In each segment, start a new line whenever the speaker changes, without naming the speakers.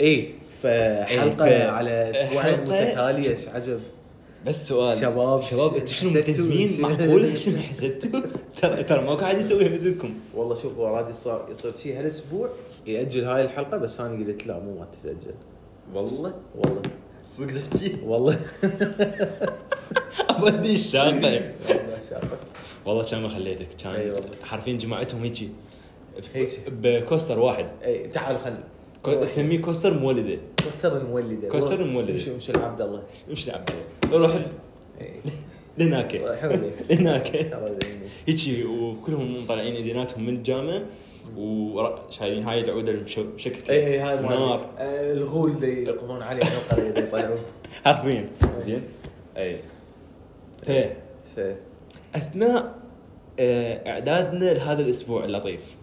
اي فحلقه
إيه، ف-
إيه، على اسبوعين
حلقة-
متتاليه ايش عجب
بس سؤال
شباب،
شباب انتم شنو
حسدتوا؟
ملتزمين معقوله شنو حسدتوا؟ ترى ترى ماكو احد يسويها مثلكم
والله شوف هو راجل صار يصير شيء هالاسبوع ياجل هاي الحلقه بس انا قلت لا مو ما تتاجل
والله
والله
صدق تحكي
والله
اودي الشاقه
والله شاطر
طيب. والله كان ما خليتك
أي
كان
والله.
حرفيا جماعتهم هيجي
أيوة. هيجي.
بكوستر واحد
اي تعالوا إيه، خلي
كو- سميه كوستر مولده
كوستر مولده
كوستر مولده.
مش مش العبد الله إيه.
مش عبد الله روح
إي.
لهناك
حولي
لهناك
الله يعينك.
هيجي وكلهم مطلعين ايديناتهم من الجامع وشايلين هاي العوده المشو- مشككه
اي اي إيه، هاي مال-
نار
آه، الغول دي يقضون عليه من القريه دي يطلعون
حرفيا زين
إيه.
اي ف
ف
اثناء آه، اعدادنا لهذا الاسبوع اللطيف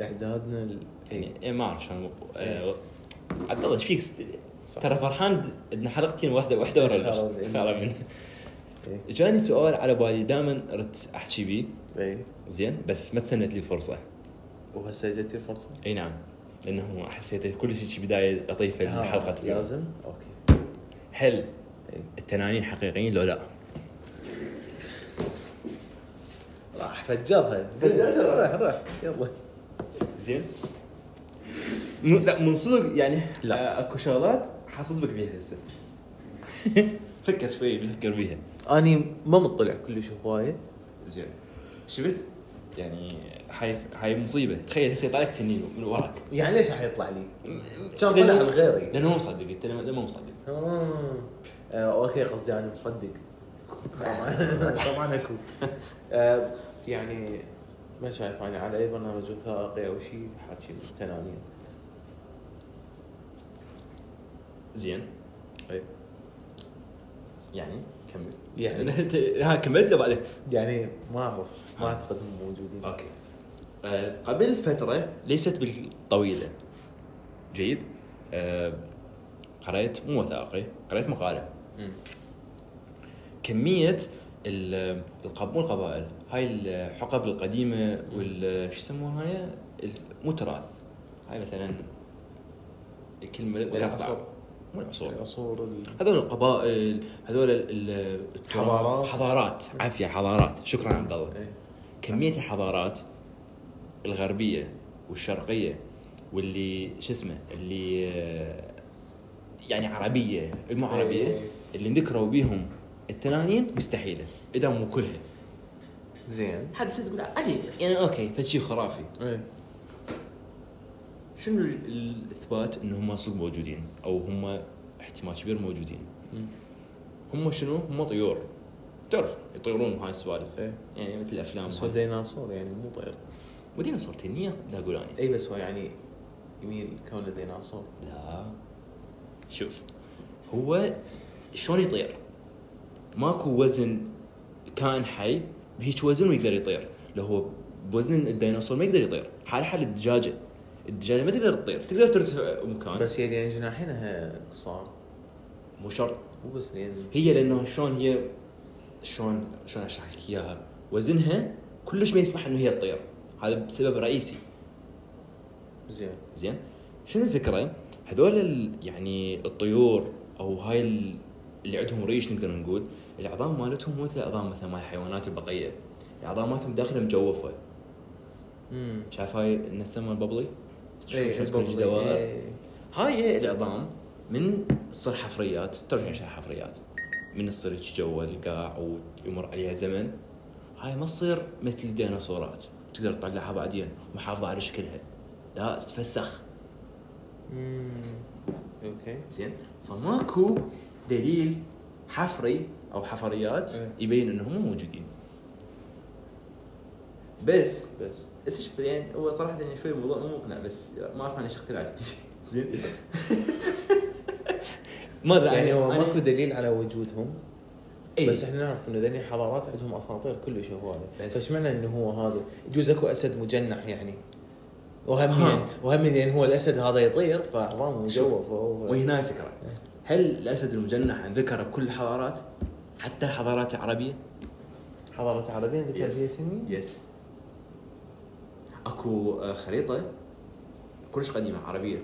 اعدادنا ال- اي
يعني إيه، ما اعرف شلون آه، عبد الله ايش فيك
إيه. صح.
ترى فرحان ان حلقتين واحده واحده ورا
خراب
الاخ
يعني.
خراب يعني.
إيه.
جاني سؤال على بالي دائما ردت احكي بيه
اي
زين بس ما تسنت لي الفرصه
إيه. وهسه جت الفرصه
اي نعم لانه حسيت كل شيء بدايه لطيفه
آه، إيه.
لحلقه اليوم
لازم اوكي
هل
إي.
التنانين حقيقيين لو لا؟
راح فجرها
فجرتها.
راح راح يلا
زين م- لا من صدق يعني
لا.
آه، اكو شغلات حصدمك بيها هسه فكر شوي فكر بيها
اني ما مطلع كلش هوايه
زين شفت يعني هاي هاي مصيبه تخيل هسه يطلع لك تنين من وراك
يعني ليش راح يطلع لي؟ كان
لأنه-
طلع لغيري
لانه مو مصدق انت لما لما مو مصدق
آه. آه، اوكي قصدي انا مصدق طبعا طبعا اكو آه، يعني ما شايف انا على اي برنامج وثائقي او شيء حاكي تنانين
زين
إي.
يعني كمل
يعني
يعني انت ها كملت لو بعدين
يعني ما اعرف ما اعتقد هم موجودين
اوكي آه، قبل فتره ليست بالطويله جيد آه، قرأت مو وثائقي قرأت مقاله
مم.
كميه ال- القب مو القبائل هاي الحقب القديمه وال شو يسموها هاي ال- مو تراث هاي مثلا الكلمه
العصر.
مو العصور
العصور ال-
هذول القبائل هذول ال- ال- التراث-
حضارات.
حضارات عافيه حضارات شكرا عبد الله
إيه.
كميه الحضارات الغربيه والشرقيه واللي شو اسمه اللي آه، يعني عربيه المو عربيه
إيه.
اللي ذكروا بيهم التنانين مستحيله اذا مو كلها
زين
حد تقول علي يعني اوكي فشي خرافي
إيه.
شنو ال- الاثبات ان هم صدق موجودين او هم احتمال كبير موجودين
مم.
هم شنو هم طيور تعرف يطيرون وهاي السوالف
إيه.
يعني مثل الافلام
بس هو
وهاي.
ديناصور يعني مو طير
مو ديناصور تنيه لا اقول انا
اي بس هو يعني يميل كونه ديناصور
لا شوف هو شلون يطير ماكو وزن كائن حي بهيج وزن ويقدر يطير لو هو بوزن الديناصور ما يقدر يطير حال حال الدجاجه الدجاجه ما تقدر تطير تقدر ترتفع مكان بس
بس يعني هي لان جناحينها قصار
مو شرط
مو بس لان
هي لانه شلون هي شلون شلون اشرح لك اياها وزنها كلش ما يسمح انه هي تطير هذا بسبب رئيسي
زين
زين شنو الفكره؟ هذول ال- يعني الطيور او هاي ال- اللي عندهم ريش نقدر نقول العظام مالتهم مو مثل العظام مثلا مال الحيوانات البقيه العظام مالتهم داخله مجوفه
امم
شايف هاي النسمه الببلي؟
إيه،
شو- شو تكون دوائر؟ هاي هي العظام من تصير حفريات تعرف يعني شو حفريات من تصير هيك جوا القاع ويمر عليها زمن هاي ما تصير مثل الديناصورات تقدر تطلعها بعدين محافظه على شكلها لا تتفسخ
امم اوكي
زين فماكو دليل حفري او حفريات
إيه.
يبين انهم مو موجودين بس
بس
بس شوف يعني هو صراحه يعني شوي الموضوع مو مقنع بس ما اعرف انا ايش اخترعت فيه. زين ما ادري
يعني هو
أنا-
ماكو دليل على وجودهم
إيه.
بس احنا نعرف انه ذني حضارات عندهم اساطير كلش هوايه
بس-
بس معنى انه هو هذا يجوز اكو اسد مجنح يعني وهم
ها.
يعني- وهم لان هو الاسد هذا يطير فعظامه مجوف إيه. فهو
وهنا الفكره هل الاسد المجنح انذكر بكل الحضارات حتى الحضارات العربيه؟
حضاره عربيه ذكر فيها
يس
إيه.
اكو آه، خريطه كلش قديمه عربيه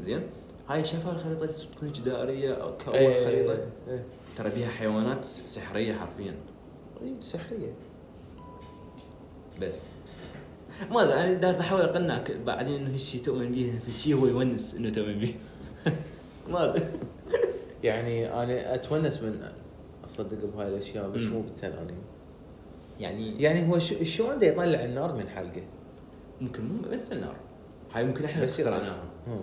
زين هاي شافها الخريطه تكون جداريه او كاول
إيه،
خريطه
إيه.
ترى بيها حيوانات س- سحريه حرفيا
إيه، سحريه
بس ما ادري انا دار احاول اقنعك بعدين انه هالشيء تؤمن به فالشيء هو يونس انه تؤمن به ما ادري
يعني انا اتونس من اصدق بهاي الاشياء بس
مم.
مو بالتنانين
يعني
يعني هو شو شلون دا يطلع النار من حلقه؟
ممكن مو مثل النار هاي ممكن احنا
بس يطلع.
اخترعناها
هم.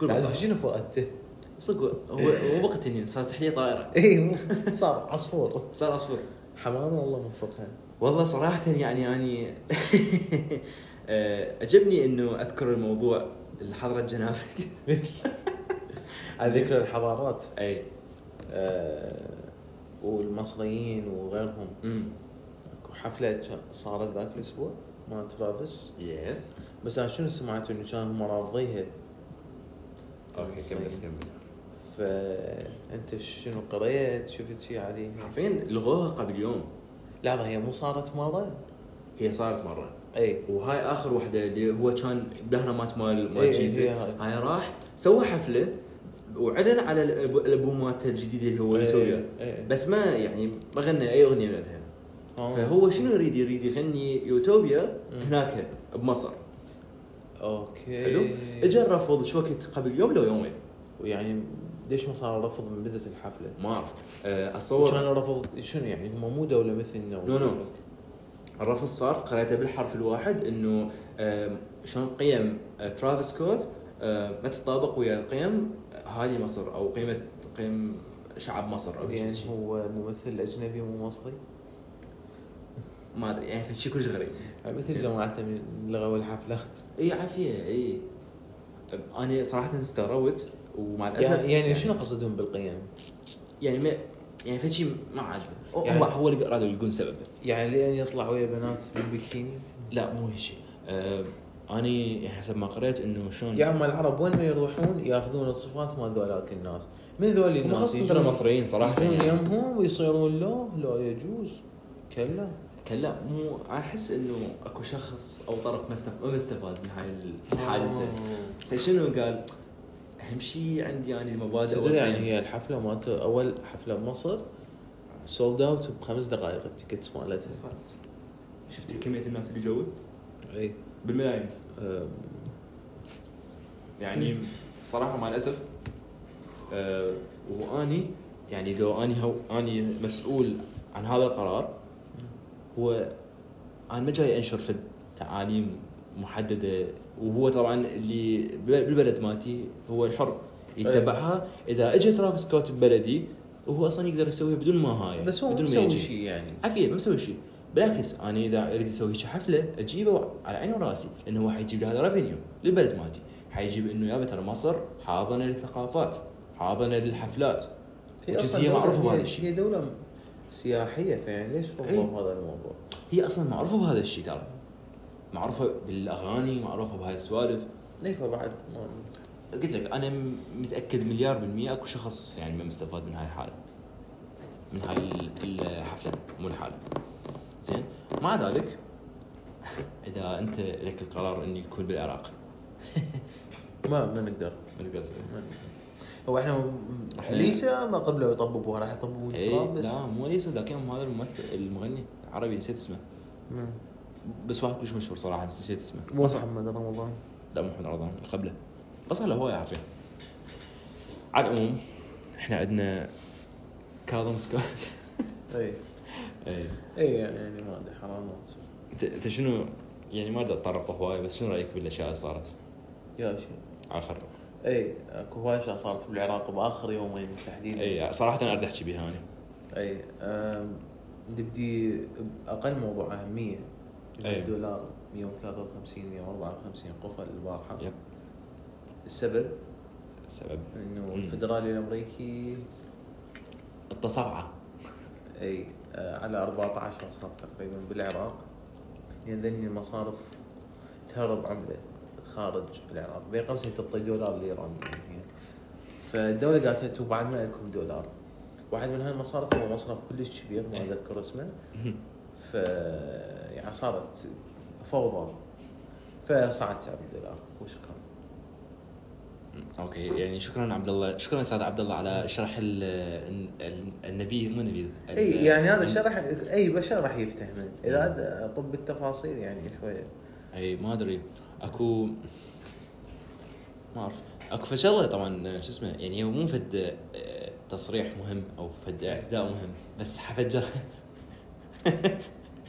كل
لازم
بصراحه
شنو فائدته؟
صدق هو هو وقت اني صار تحليه طائره
اي إيه، مو صار عصفور
صار اصفر
حمامه الله موفقها
والله صراحة يعني أني آه، عجبني إنه أذكر الموضوع الحضرة جنابك
على ذكر الحضارات
أي
إيه. آه، والمصريين وغيرهم
امم
اكو حفله كان- صارت ذاك الاسبوع مال ترافيس
يس
بس انا شنو سمعت انه كانوا هم رافضيها
أوكي كمل كمل
فانت شنو قريت شفت شيء عليه
عارفين لغوها قبل يوم
لحظه هي مو صارت إيه. مره
هي صارت مرة
اي
وهاي آخر وحدة اللي هو كان بأهرامات مال
إي،
مال
إي، هي
جيزة
هاي.
إيه، هاي راح سوى حفلة وعلن على الألب- الألبوم مالته الجديد اللي هو
إيه.
يوتوبيا
إي.
بس ما يعني ما غنى أي أغنية بعدها
آه.
فهو شنو يريد يريد يغني يوتوبيا
مم.
هناك بمصر
اوكي
حلو اجى الرفض شو وقت قبل يوم لو يومين
ويعني يعني ليش ما صار رفض من بدايه الحفله؟
ما اعرف أه، اتصور
كان رفض شنو يعني هم مو دوله مثلنا
نو، نو. الرفض صار قريته بالحرف الواحد انه أه، شلون قيم أه، ترافيس سكوت أه، ما تتطابق ويا قيم هذه مصر او قيمه قيم شعب مصر او
يعني
شيء
هو ممثل اجنبي مو مصري
ما ادري يعني شيء كلش غريب
مثل
زين.
جماعتنا من لغوا الحفلات
اي عافيه اي أه، انا صراحه استغربت ومع الاسف
يعني, يعني شنو قصدهم بالقيم؟
يعني ما يعني فشي ما عاجبه هو
يعني-
هو اللي رادوا يقول سببه
يعني لين يطلع ويا بنات بالبكيني
لا مو هيك شيء أه، اني حسب ما قريت انه شلون
يا اما العرب وين ما يروحون ياخذون الصفات مال ذولاك الناس من ذول
مو
الناس
خاصة ترى المصريين صراحة
يجون
يعني
يمهم ويصيرون له لا يجوز كلا
كلا مو أنا احس انه اكو شخص او طرف ما استف- ما استفاد من هاي الحادثة
آه.
فشنو قال؟ اهم شيء عندي يعني المبادئ
تدري يعني
والقيم.
هي الحفله مالت اول حفله بمصر سولد اوت بخمس دقائق التيكتس مالتها
شفت كمية الناس اللي جوا
اي
بالملايين
أم،
يعني صراحة مع الاسف أه واني يعني لو اني هو اني مسؤول عن هذا القرار هو انا ما جاي انشر في تعاليم محدده وهو طبعا اللي بال- بالبلد مالتي هو الحر يتبعها
إيه.
اذا اجى ترافيس سكوت ببلدي هو اصلا يقدر يسويها بدون ما هاي
بس هو
بدون ما
مسوي
يجي.
شيء يعني
عافيه ما مسوي شيء بالعكس انا اذا اريد اسوي هيك حفله اجيبه على عيني وراسي لانه هو حيجيب لي هذا ريفينيو للبلد مالتي حيجيب انه يابا ترى مصر حاضنه للثقافات حاضنه للحفلات
هي
وجزء
أصلاً
هي
دولة-
معروفة بهذا
هي-
الشيء.
هي دوله سياحيه فيعني ليش رفضوا هذا الموضوع؟
هي اصلا معروفه بهذا الشيء ترى معروفه بالاغاني معروفه بهاي السوالف
ليش بعد ما
قلت لك انا م- متاكد مليار بالميه اكو شخص يعني ما مستفاد من هاي الحاله من هاي ال- الحفله مو الحاله زين مع ذلك اذا انت لك القرار انه يكون بالعراق
ما ما نقدر
ما نقدر نسوي.
ما نقدر. هو احنا
إحنا-
ليسا ما قبلوا يطببوها راح يطببون
اي
تراب بس
إيه، لا مو ليس ذاك يوم هذا الممثل المغني العربي نسيت اسمه
مم.
بس واحد كلش مشهور صراحه بس نسيت اسمه
مو محمد رمضان
لا مو محمد رمضان اللي قبله بس هلا هو عارفين على العموم احنا عندنا كاظم سكوت
اي
اي
اي يعني ما ادري حرام ما تصير.
انت انت شنو يعني ما ادري اتطرق هواي بس شنو رايك بالاشياء اللي صارت
يا إيه، شيء
اخر
اي اكو هواي اشياء صارت بالعراق باخر يومين تحديدا
اي صراحه انا اريد احكي بها انا
اي إيه، أم، نبدي باقل موضوع اهميه
أي.
الدولار 153 154 قفل البارحه
يب.
السبب
السبب
انه
مم.
الفدرالي الامريكي
التصارعه
اي آه، على 14 مصرف تقريبا بالعراق لان ذني المصارف تهرب عمله خارج العراق بين قوسين تعطي دولار الايراني يعني. فالدوله قالت انتم بعد ما لكم دولار واحد من هالمصارف هو مصرف كلش كبير ما اذكر اسمه ف يعني صارت فوضى فصعد سعر الدولار وشكرا
اوكي يعني شكرا عبد الله شكرا استاذ عبد الله على شرح ال- ال- النبيذ مو نبيذ ال-
اي يعني هذا
ال-
شرح اي بشر راح يفتهمه اذا عاد آه، طب التفاصيل يعني شويه
اي ما ادري اكو ما اعرف اكو فد شغله طبعا شو اسمه يعني هو مو فد آه، تصريح مهم او فد اعتداء مهم بس حفجر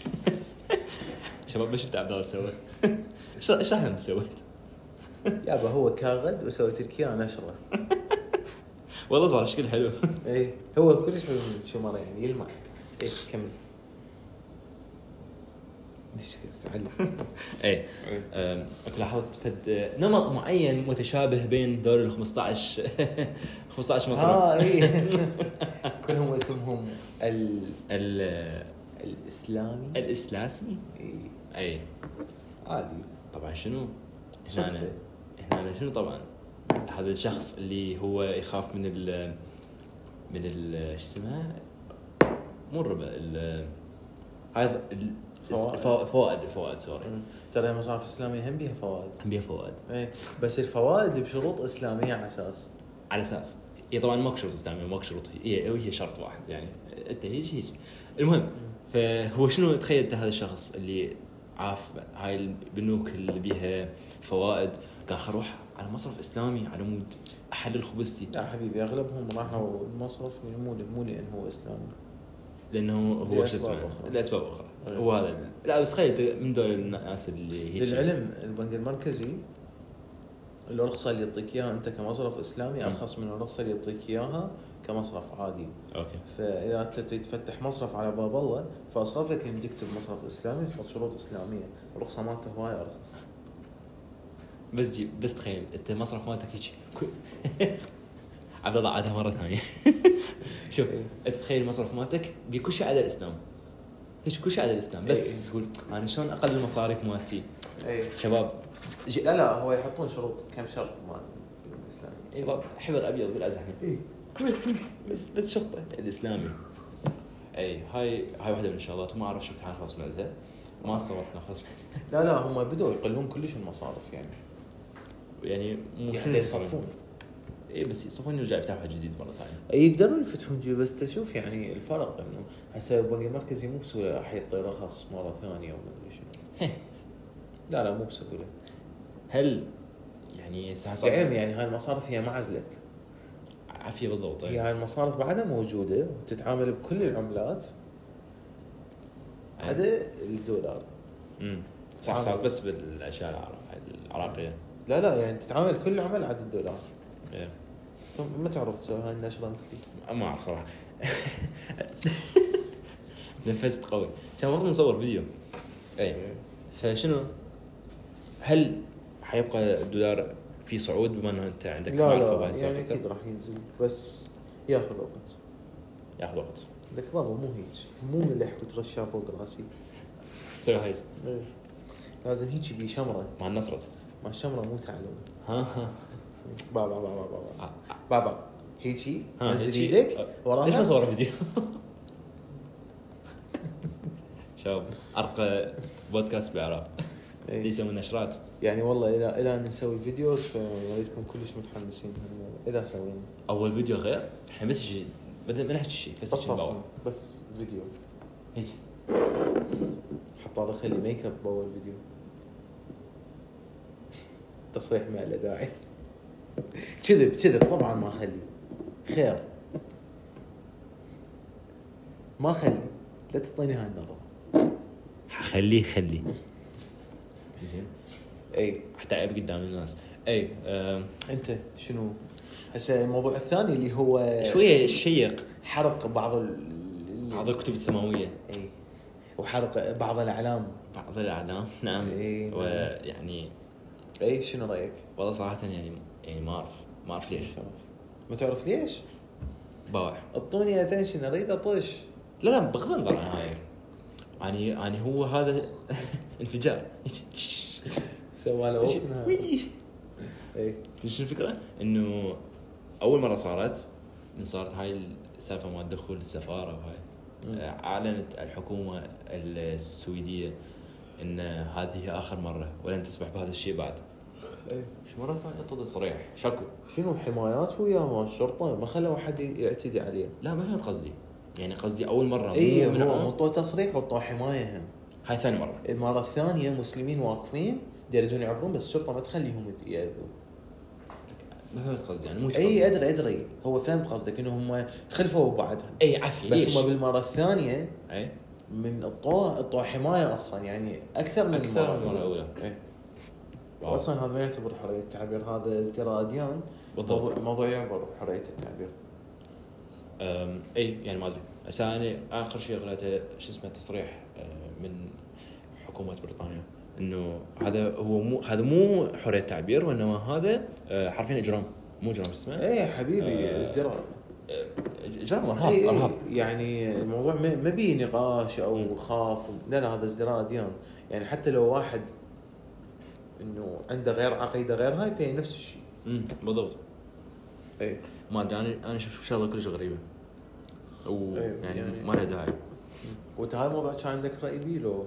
شباب ما شفت عبد الله سوى شرح- شرح لنا سويت
يابا هو كاغد وسويت لك اياه نشره
والله صار شكل حلو
اي إيه، هو كلش حلو من الشمر يعني يلمع اي كمل دش فعل.
اي أم، اكو إيه، لاحظت فد آه، نمط معين متشابه بين دور ال 15 15 مصرف
اه اي كلهم اسمهم ال...
ال- آه،
الاسلامي
الاسلاسي
إي.
اي
إيه، عادي
طبعا شنو؟ هنا
صدفة.
هنا شنو طبعا؟ هذا الشخص اللي هو يخاف من ال من ال شو اسمها؟ مو الربا ال هذا ال-
فوائد.
الفو- فوائد الفوائد سوري
ترى المصارف الاسلاميه هم بيها فوائد
بيها فوائد
اي بس الفوائد بشروط اسلاميه على اساس
على إيه اساس هي طبعا ماكو شروط اسلاميه ماكو شروط هي إيه، هي شرط واحد يعني انت هيج هيج المهم فهو شنو تخيل انت هذا الشخص اللي عاف هاي البنوك اللي بيها فوائد قال خل اروح على مصرف اسلامي على مود احلل خبزتي
لا حبيبي اغلبهم راحوا المصرف يعني مو مو لانه هو اسلامي
لانه هو شو
لأسباب
اسمه
أخرى. أيوة.
لاسباب اخرى
أي.
هو هذا ال- لا بس تخيل أنت من دول الناس اللي هيك
للعلم البنك المركزي الرخصه اللي يعطيك اياها انت كمصرف اسلامي
مم.
ارخص من الرخصه اللي يعطيك اياها كمصرف عادي
اوكي
فاذا انت تريد تفتح مصرف على باب الله فاصرافك يمديك تكتب مصرف اسلامي تحط شروط اسلاميه الرخصه مالته هواي ارخص
بس جيب بس تخيل انت مصرف مالتك هيك كل- عبد الله عادها مره ثانيه شوف
إيه.
انت تخيل مصرف مالتك بكل شيء على الاسلام هيك كل شيء على الاسلام بس
إيه.
تقول انا شلون اقلل المصاريف مالتي
اي
شباب جي-
إيه. لا لا هو يحطون شروط كم شرط مال الاسلامي
شباب حبر ابيض بالازهر
اي
بس إيه، بس بس شرطه الاسلامي اي هاي هاي واحده من الشغلات وما اعرف شو تعال خلص منها ما استوعبت نخلص
لا لا هم بدوا يقلون كلش المصارف يعني
يعني مو شنو
يعني يصفون
اي بس يصفون يرجع يفتح واحد جديد مره ثانيه
يقدرون يفتحون جي بس تشوف يعني الفرق انه هسه البنك المركزي مو بسهوله راح يعطي رخص مره ثانيه وما ادري شنو لا لا مو بسهوله
هل يعني هسه صار-
العلم يعني هاي المصارف هي ما عزلت
عافيه بالضبط
هي
إيه.
هاي المصارف بعدها موجوده وتتعامل بكل العملات عدا الدولار
أمم. صح صار بس بالاشياء العرب- العراقيه
لا لا يعني تتعامل كل العمل عدا الدولار
إيه.
انت ما تعرف تسوي هاي النشره مثلي
ما اعرف صراحه نفست قوي كان المفروض نصور فيديو
يعني
اي فشنو هل حيبقى الدولار في صعود بما انه انت عندك
لا
معرفه بهاي
لا يعني
السالفه
اكيد راح ينزل بس ياخذ وقت
ياخذ وقت
لك بابا مو هيج مو ملح وترشاه فوق راسي
سوي هاي
لازم هيجي بي شمره
مع النصرة
ما الشمره مو تعلم
ها ها
بابا بابا بابا
ها
بابا هيجي نزل
هيجي.
ايدك
أه. ليش ما
وراها
صور فيديو؟ شباب ارقى بودكاست بالعراق
إيه.
اللي يسوي نشرات
يعني والله الى الى ان نسوي فيديوز فيا ريتكم كلش متحمسين اذا سوينا
اول فيديو غير احنا بس شيء بدنا ما نحكي شيء بس
بس
شيء باور
بس فيديو
هيك
حط على خلي ميك اب باول فيديو تصريح ما له داعي كذب كذب طبعا ما اخلي خير ما اخلي لا تعطيني هاي النظره
خليه خليه زين
اي
حتى عيب قدام الناس إيه، اي آم،
انت شنو هسه الموضوع الثاني اللي هو
شويه شيق
حرق بعض ال
بعض الكتب السماويه
اي وحرق بعض الاعلام
بعض الاعلام نعم
إيه،
ويعني
اي إيه، شنو رايك؟
والله صراحه يعني يعني ما اعرف ما اعرف ليش
ما تعرف ليش؟
باوع
اعطوني اتنشن اريد اطش
لا لا بغض النظر عن هاي يعني يعني هو هذا انفجار
سوى له open.
وي.
اي
تدري شنو الفكره؟ انه اول مره صارت من صارت هاي السالفه مال دخول السفاره وهاي
مم.
آه، اعلنت الحكومه السويديه ان هذه اخر مره ولن تسمح بهذا الشيء بعد ايش مره ثانيه اتصل صريح شكو
إيه. شنو حمايات ويا مال الشرطه ما خلوا احد يعتدي عليه
لا ما فهمت قصدي يعني قصدي اول مره
اي
مو من
إيه، هو
عام.
مطوه تصريح وطوه حمايه هم
هاي ثاني مره
المره الثانيه مسلمين واقفين يريدون يعبرون بس الشرطه ما تخليهم ياذوا
ما فهمت قصدي يعني مو شي قصدي.
اي ادري ادري هو فهمت قصدك انه هم خلفوا بعضهم
اي عافيه
بس
إيه، ليش؟ إيه؟
هم بالمره الثانيه
اي
من الطوع الطوع حمايه اصلا يعني اكثر من
اكثر من
المرة
المره الاولى
إيه.
واو.
اصلا هذا ما يعتبر حريه التعبير هذا ازدراء اديان موضوع-
بالضبط
موضوع يعبر حريه التعبير
أم، اي يعني ما ادري بس انا اخر شيء قريته شو اسمه تصريح أه، من حكومه بريطانيا انه هذا هو مو هذا مو حريه تعبير وانما هذا أه، حرفيا اجرام مو اجرام شو اسمه
اي حبيبي
آه،
ازدراء
أه، اجرام ارهاب
إي، إي،
ارهاب
يعني الموضوع ما ما بيه نقاش
مم.
او خاف لا لا هذا ازدراء اديان يعني حتى لو واحد انه عنده غير عقيده غير هاي فهي نفس الشيء
امم بالضبط
اي
ما ادري انا انا شفت شغله كلش غريبه
إيه،
ويعني
يعني-
ما لها داعي
وانت هاي الموضوع كان عندك راي بيه لو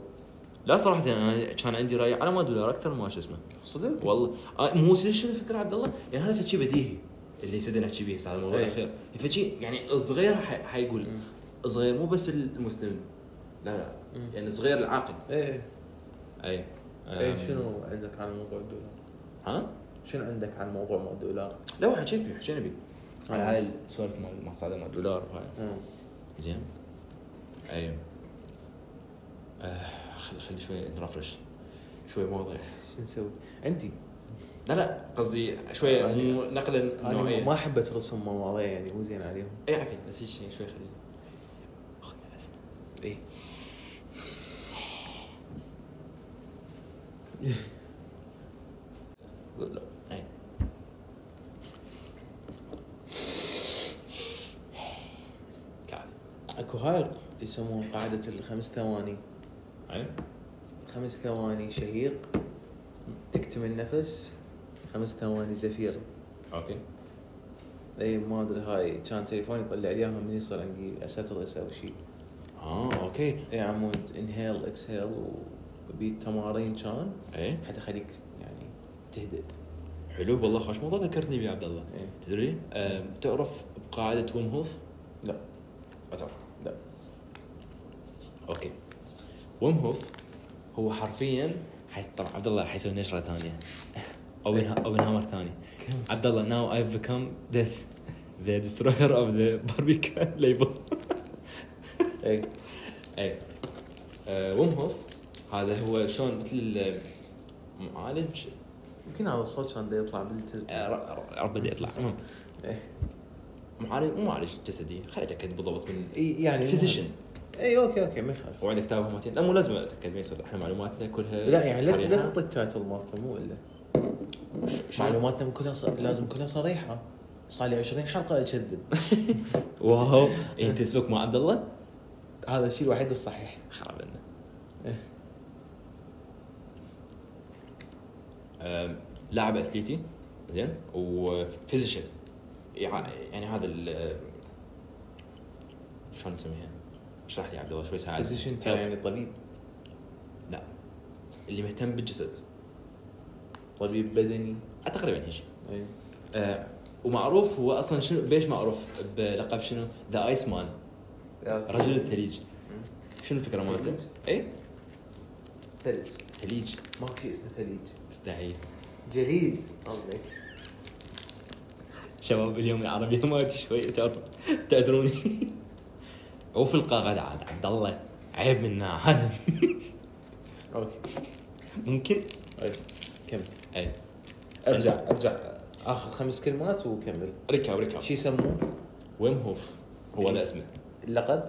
لا صراحه انا كان عندي راي على ما دولار اكثر ما شو اسمه
صدق
والله آه، مو زين شنو الفكره عبد الله؟ يعني هذا فشي بديهي اللي سيدنا نحكي به هذا الموضوع
إيه.
الاخير فشي يعني صغير ح- حيقول
مم.
صغير مو بس المسلم لا لا
مم.
يعني صغير العاقل
اي
اي
اي
أم،
إيه. شنو عندك عن موضوع الدولار؟
ها؟
شنو عندك عن موضوع مال الدولار؟
لا هو حكيت بيه حكينا بيه على
آه.
هاي السوالف مال مال صعدة مال دولار وهاي زين اي آه، خلي خلي شوي نرفرش شوي مواضيع
شو نسوي؟ عندي
لا لا قصدي شوي
أنا-
مو- نقلا
انا
نوعيه
ما احب اترسم مواضيع يعني مو زين عليهم
اي عفي بس هيك شوي خلي خذ نفس
اي
لا اي كعب
اكو هاي يسموها قاعده الخمس ثواني
اي
خمس ثواني شهيق تكتمل نفس خمس ثواني زفير
اوكي
اي ما ادري هاي كان تليفوني يطلع لي اياها من يصير عندي اساترس او شيء
اه اوكي
اي إيه عمود انهيل اكسهيل وبيت تمارين كان
اي
حتى خليك يعني تهدئ
حلو إيه. والله خوش موضوع ذكرتني بيه عبد الله
إيه.
تدري أم، تعرف بقاعده ويم هوف؟
لا
ما تعرف
لا
اوكي ويم هوف هو حرفيا حيس- طبعا عبد الله حيسوي نشره ثانيه اوبن اوبن هامر ثاني عبد الله ناو I've become death the destroyer of the barbecue label
اي
اي إيه. آه ويم هوف هذا هو شلون مثل ال- معالج
يمكن هذا الصوت كان دا يطلع بالتز
آه، ر- ر- رب بدي اطلع المهم
إيه.
معالج مو معالج جسدي خليني اتاكد بالضبط من
اي يعني
فيزيشن
اي اوكي اوكي إيه، ما يخالف
وعندك تابع معلوماتين لا مو لازم اتاكد ما يصير احنا معلوماتنا كلها
لا يعني لا لا
صريحة.
تعطي التايتل مالته مو الا
ش- شلون؟
معلوماتنا من كلها ص... لازم كلها صريحه صار لي 20 حلقه اكذب
واو انت اسمك إيه، مع عبد الله؟
هذا الشيء الوحيد الصحيح
خراب
إيه.
لنا آه، لاعب اثليتي زين وفيزيشن يعني هذا ال شلون نسميها؟ اشرح لي عبد الله شوي ساعد
فيزيشن يعني طبيب
لا اللي مهتم بالجسد
طبيب بدني إيه.
تقريبا هيك
اي
آه، ومعروف هو اصلا شنو بيش معروف بلقب شنو؟ ذا ايس مان رجل الثليج شنو الفكره مالته؟
ثليج؟
اي
ثلج
ثليج
ماكو شيء اسمه ثليج
مستحيل
جليد قصدك
شباب اليوم العربية ما شوي تعرف تعذروني وفي القاعدة عاد عبد الله عيب منا هذا
اوكي
ممكن إيه.
أي. إيه. كمل
اي
ارجع ارجع اخذ خمس كلمات وكمل
ركب ركب
شو يسموه؟
ويم هوف هو هذا اسمه
اللقب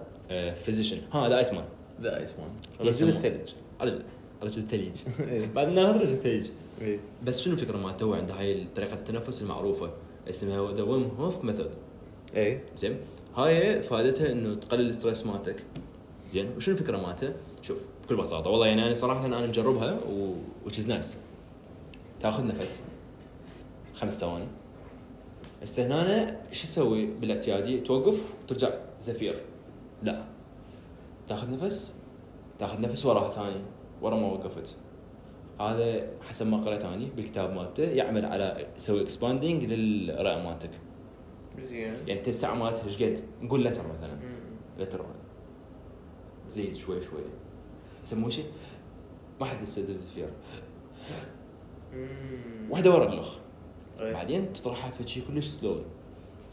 فيزيشن ها هذا اسمه
ذا ايس مان
يسموه.
رجل الثلج
رجل رجل الثليج
اي
بعد نهار رجل الثليج
اي
بس شنو الفكره مالته هو عنده هاي طريقه التنفس المعروفه اسمها ذا ويم هوف ميثود
اي
زين هاي فائدتها انه تقلل الستريس مالتك زين وشنو الفكره مالته؟ شوف بكل بساطه والله يعني انا صراحه انا مجربها و which is nice تاخذ نفس خمس ثواني استهنانه شو تسوي بالاعتيادي؟ توقف وترجع زفير لا تاخذ نفس تاخذ نفس وراها ثاني ورا ما وقفت هذا حسب ما قرأت اني بالكتاب مالته يعمل على يسوي اكسباندنج للرأي مالتك
زين
يعني انت الساعه مالتها ايش قد؟ نقول لتر مثلا
مم.
لتر واحد. زيد شوي شوي يسموه شيء ما حد يستدرس فيها
مم.
واحده ورا الاخ
إيه.
بعدين تطرحها في شيء كلش سلو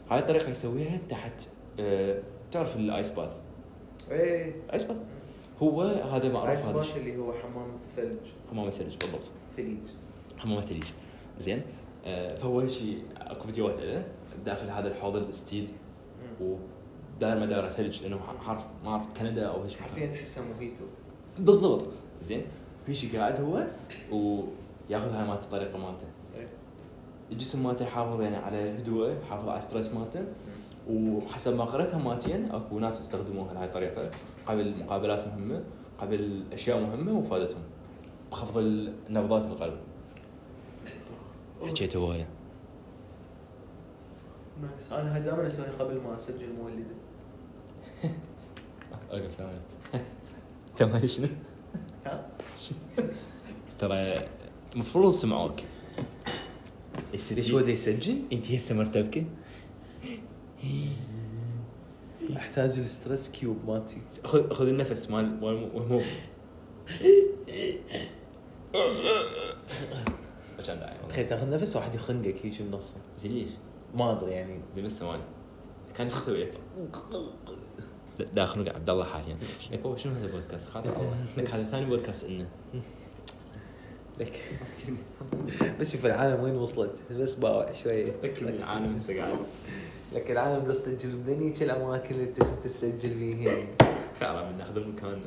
هاي الطريقه يسويها تحت آه، تعرف الايس باث
ايه
ايس باث هو هذا معروف
ايس
هذا
باث
الشيء
اللي هو حمام الثلج
حمام الثلج بالضبط
ثليج
حمام الثلج زين آه، فهو شيء اكو فيديوهات له داخل هذا الحوض الستيل
مم.
وداير ما دايره ثلج لانه حرف ما اعرف كندا او ايش
حرفيا تحسه موهيتو
بالضبط زين في شيء قاعد هو وياخذها مالته الطريقه مالته
إيه.
الجسم مالته يحافظ يعني على هدوءه يحافظ على ستريس مالته وحسب ما قرأتها مالتين اكو ناس استخدموها لهاي الطريقه قبل مقابلات مهمه قبل اشياء مهمه وفادتهم بخفض نبضات القلب حكيت هوايه
نايس انا هاي دائما اسويها قبل ما اسجل مولده
اوقف ثاني تمام شنو؟
ها
ترى المفروض سمعوك ليش وده يسجل؟ انت هسه مرتبكه؟
احتاج الستريس كيوب مالتي
خذ خذ النفس مال ومو عشان داعي والله
تخيل تاخذ نفس واحد يخنقك هيك بنصه
زين ليش؟
ما ادري يعني
زين بس ثواني كان شو اسوي داخل عبد الله حاليا لك بابا شنو هذا البودكاست خاطر الله لك هذا ثاني بودكاست انه
لك بس شوف العالم وين وصلت بس باوع شويه
لك العالم هسه قاعد
لك العالم دا تسجل بدني هيك الاماكن اللي انت كنت تسجل فيها
فعلا بناخذ المكان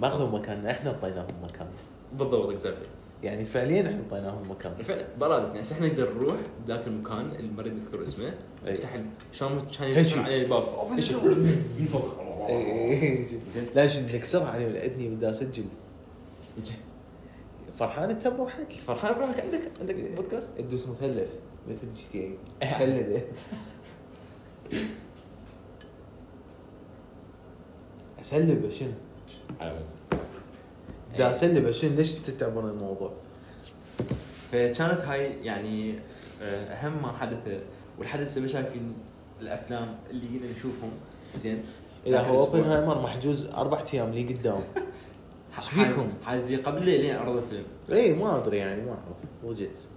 ما اخذوا مكاننا احنا اعطيناهم مكان
بالضبط اكزاكتلي
يعني فعليا احنا اعطيناهم مكان
فعلا برادتنا هسه احنا نقدر نروح ذاك المكان اللي ما أريد اذكر اسمه
أي.
نفتح ال- شلون كان
إيه. هيجي.
يفتحون عليه الباب من فوق
إي إي إي. لازم نكسرها عليه لاني بدي اسجل فرحان انت بروحك
فرحان براك عندك عندك بودكاست
تدوس مثلث مثل جي تي إيه. اي تسلبه اسلبه شنو؟ دا اسلبه شنو ليش تتعبون الموضوع؟
فكانت هاي يعني آه، اهم ما حدث والحدث هسه مش شايفين الافلام اللي جينا نشوفهم زين
اذا
ذاك
هو
الأسبوع.
اوبنهايمر محجوز اربع ايام لي قدام إيش
حاز-
بيكم؟
حازي قبل لين عرض الفيلم
اي ما ادري يعني ما اعرف وجدت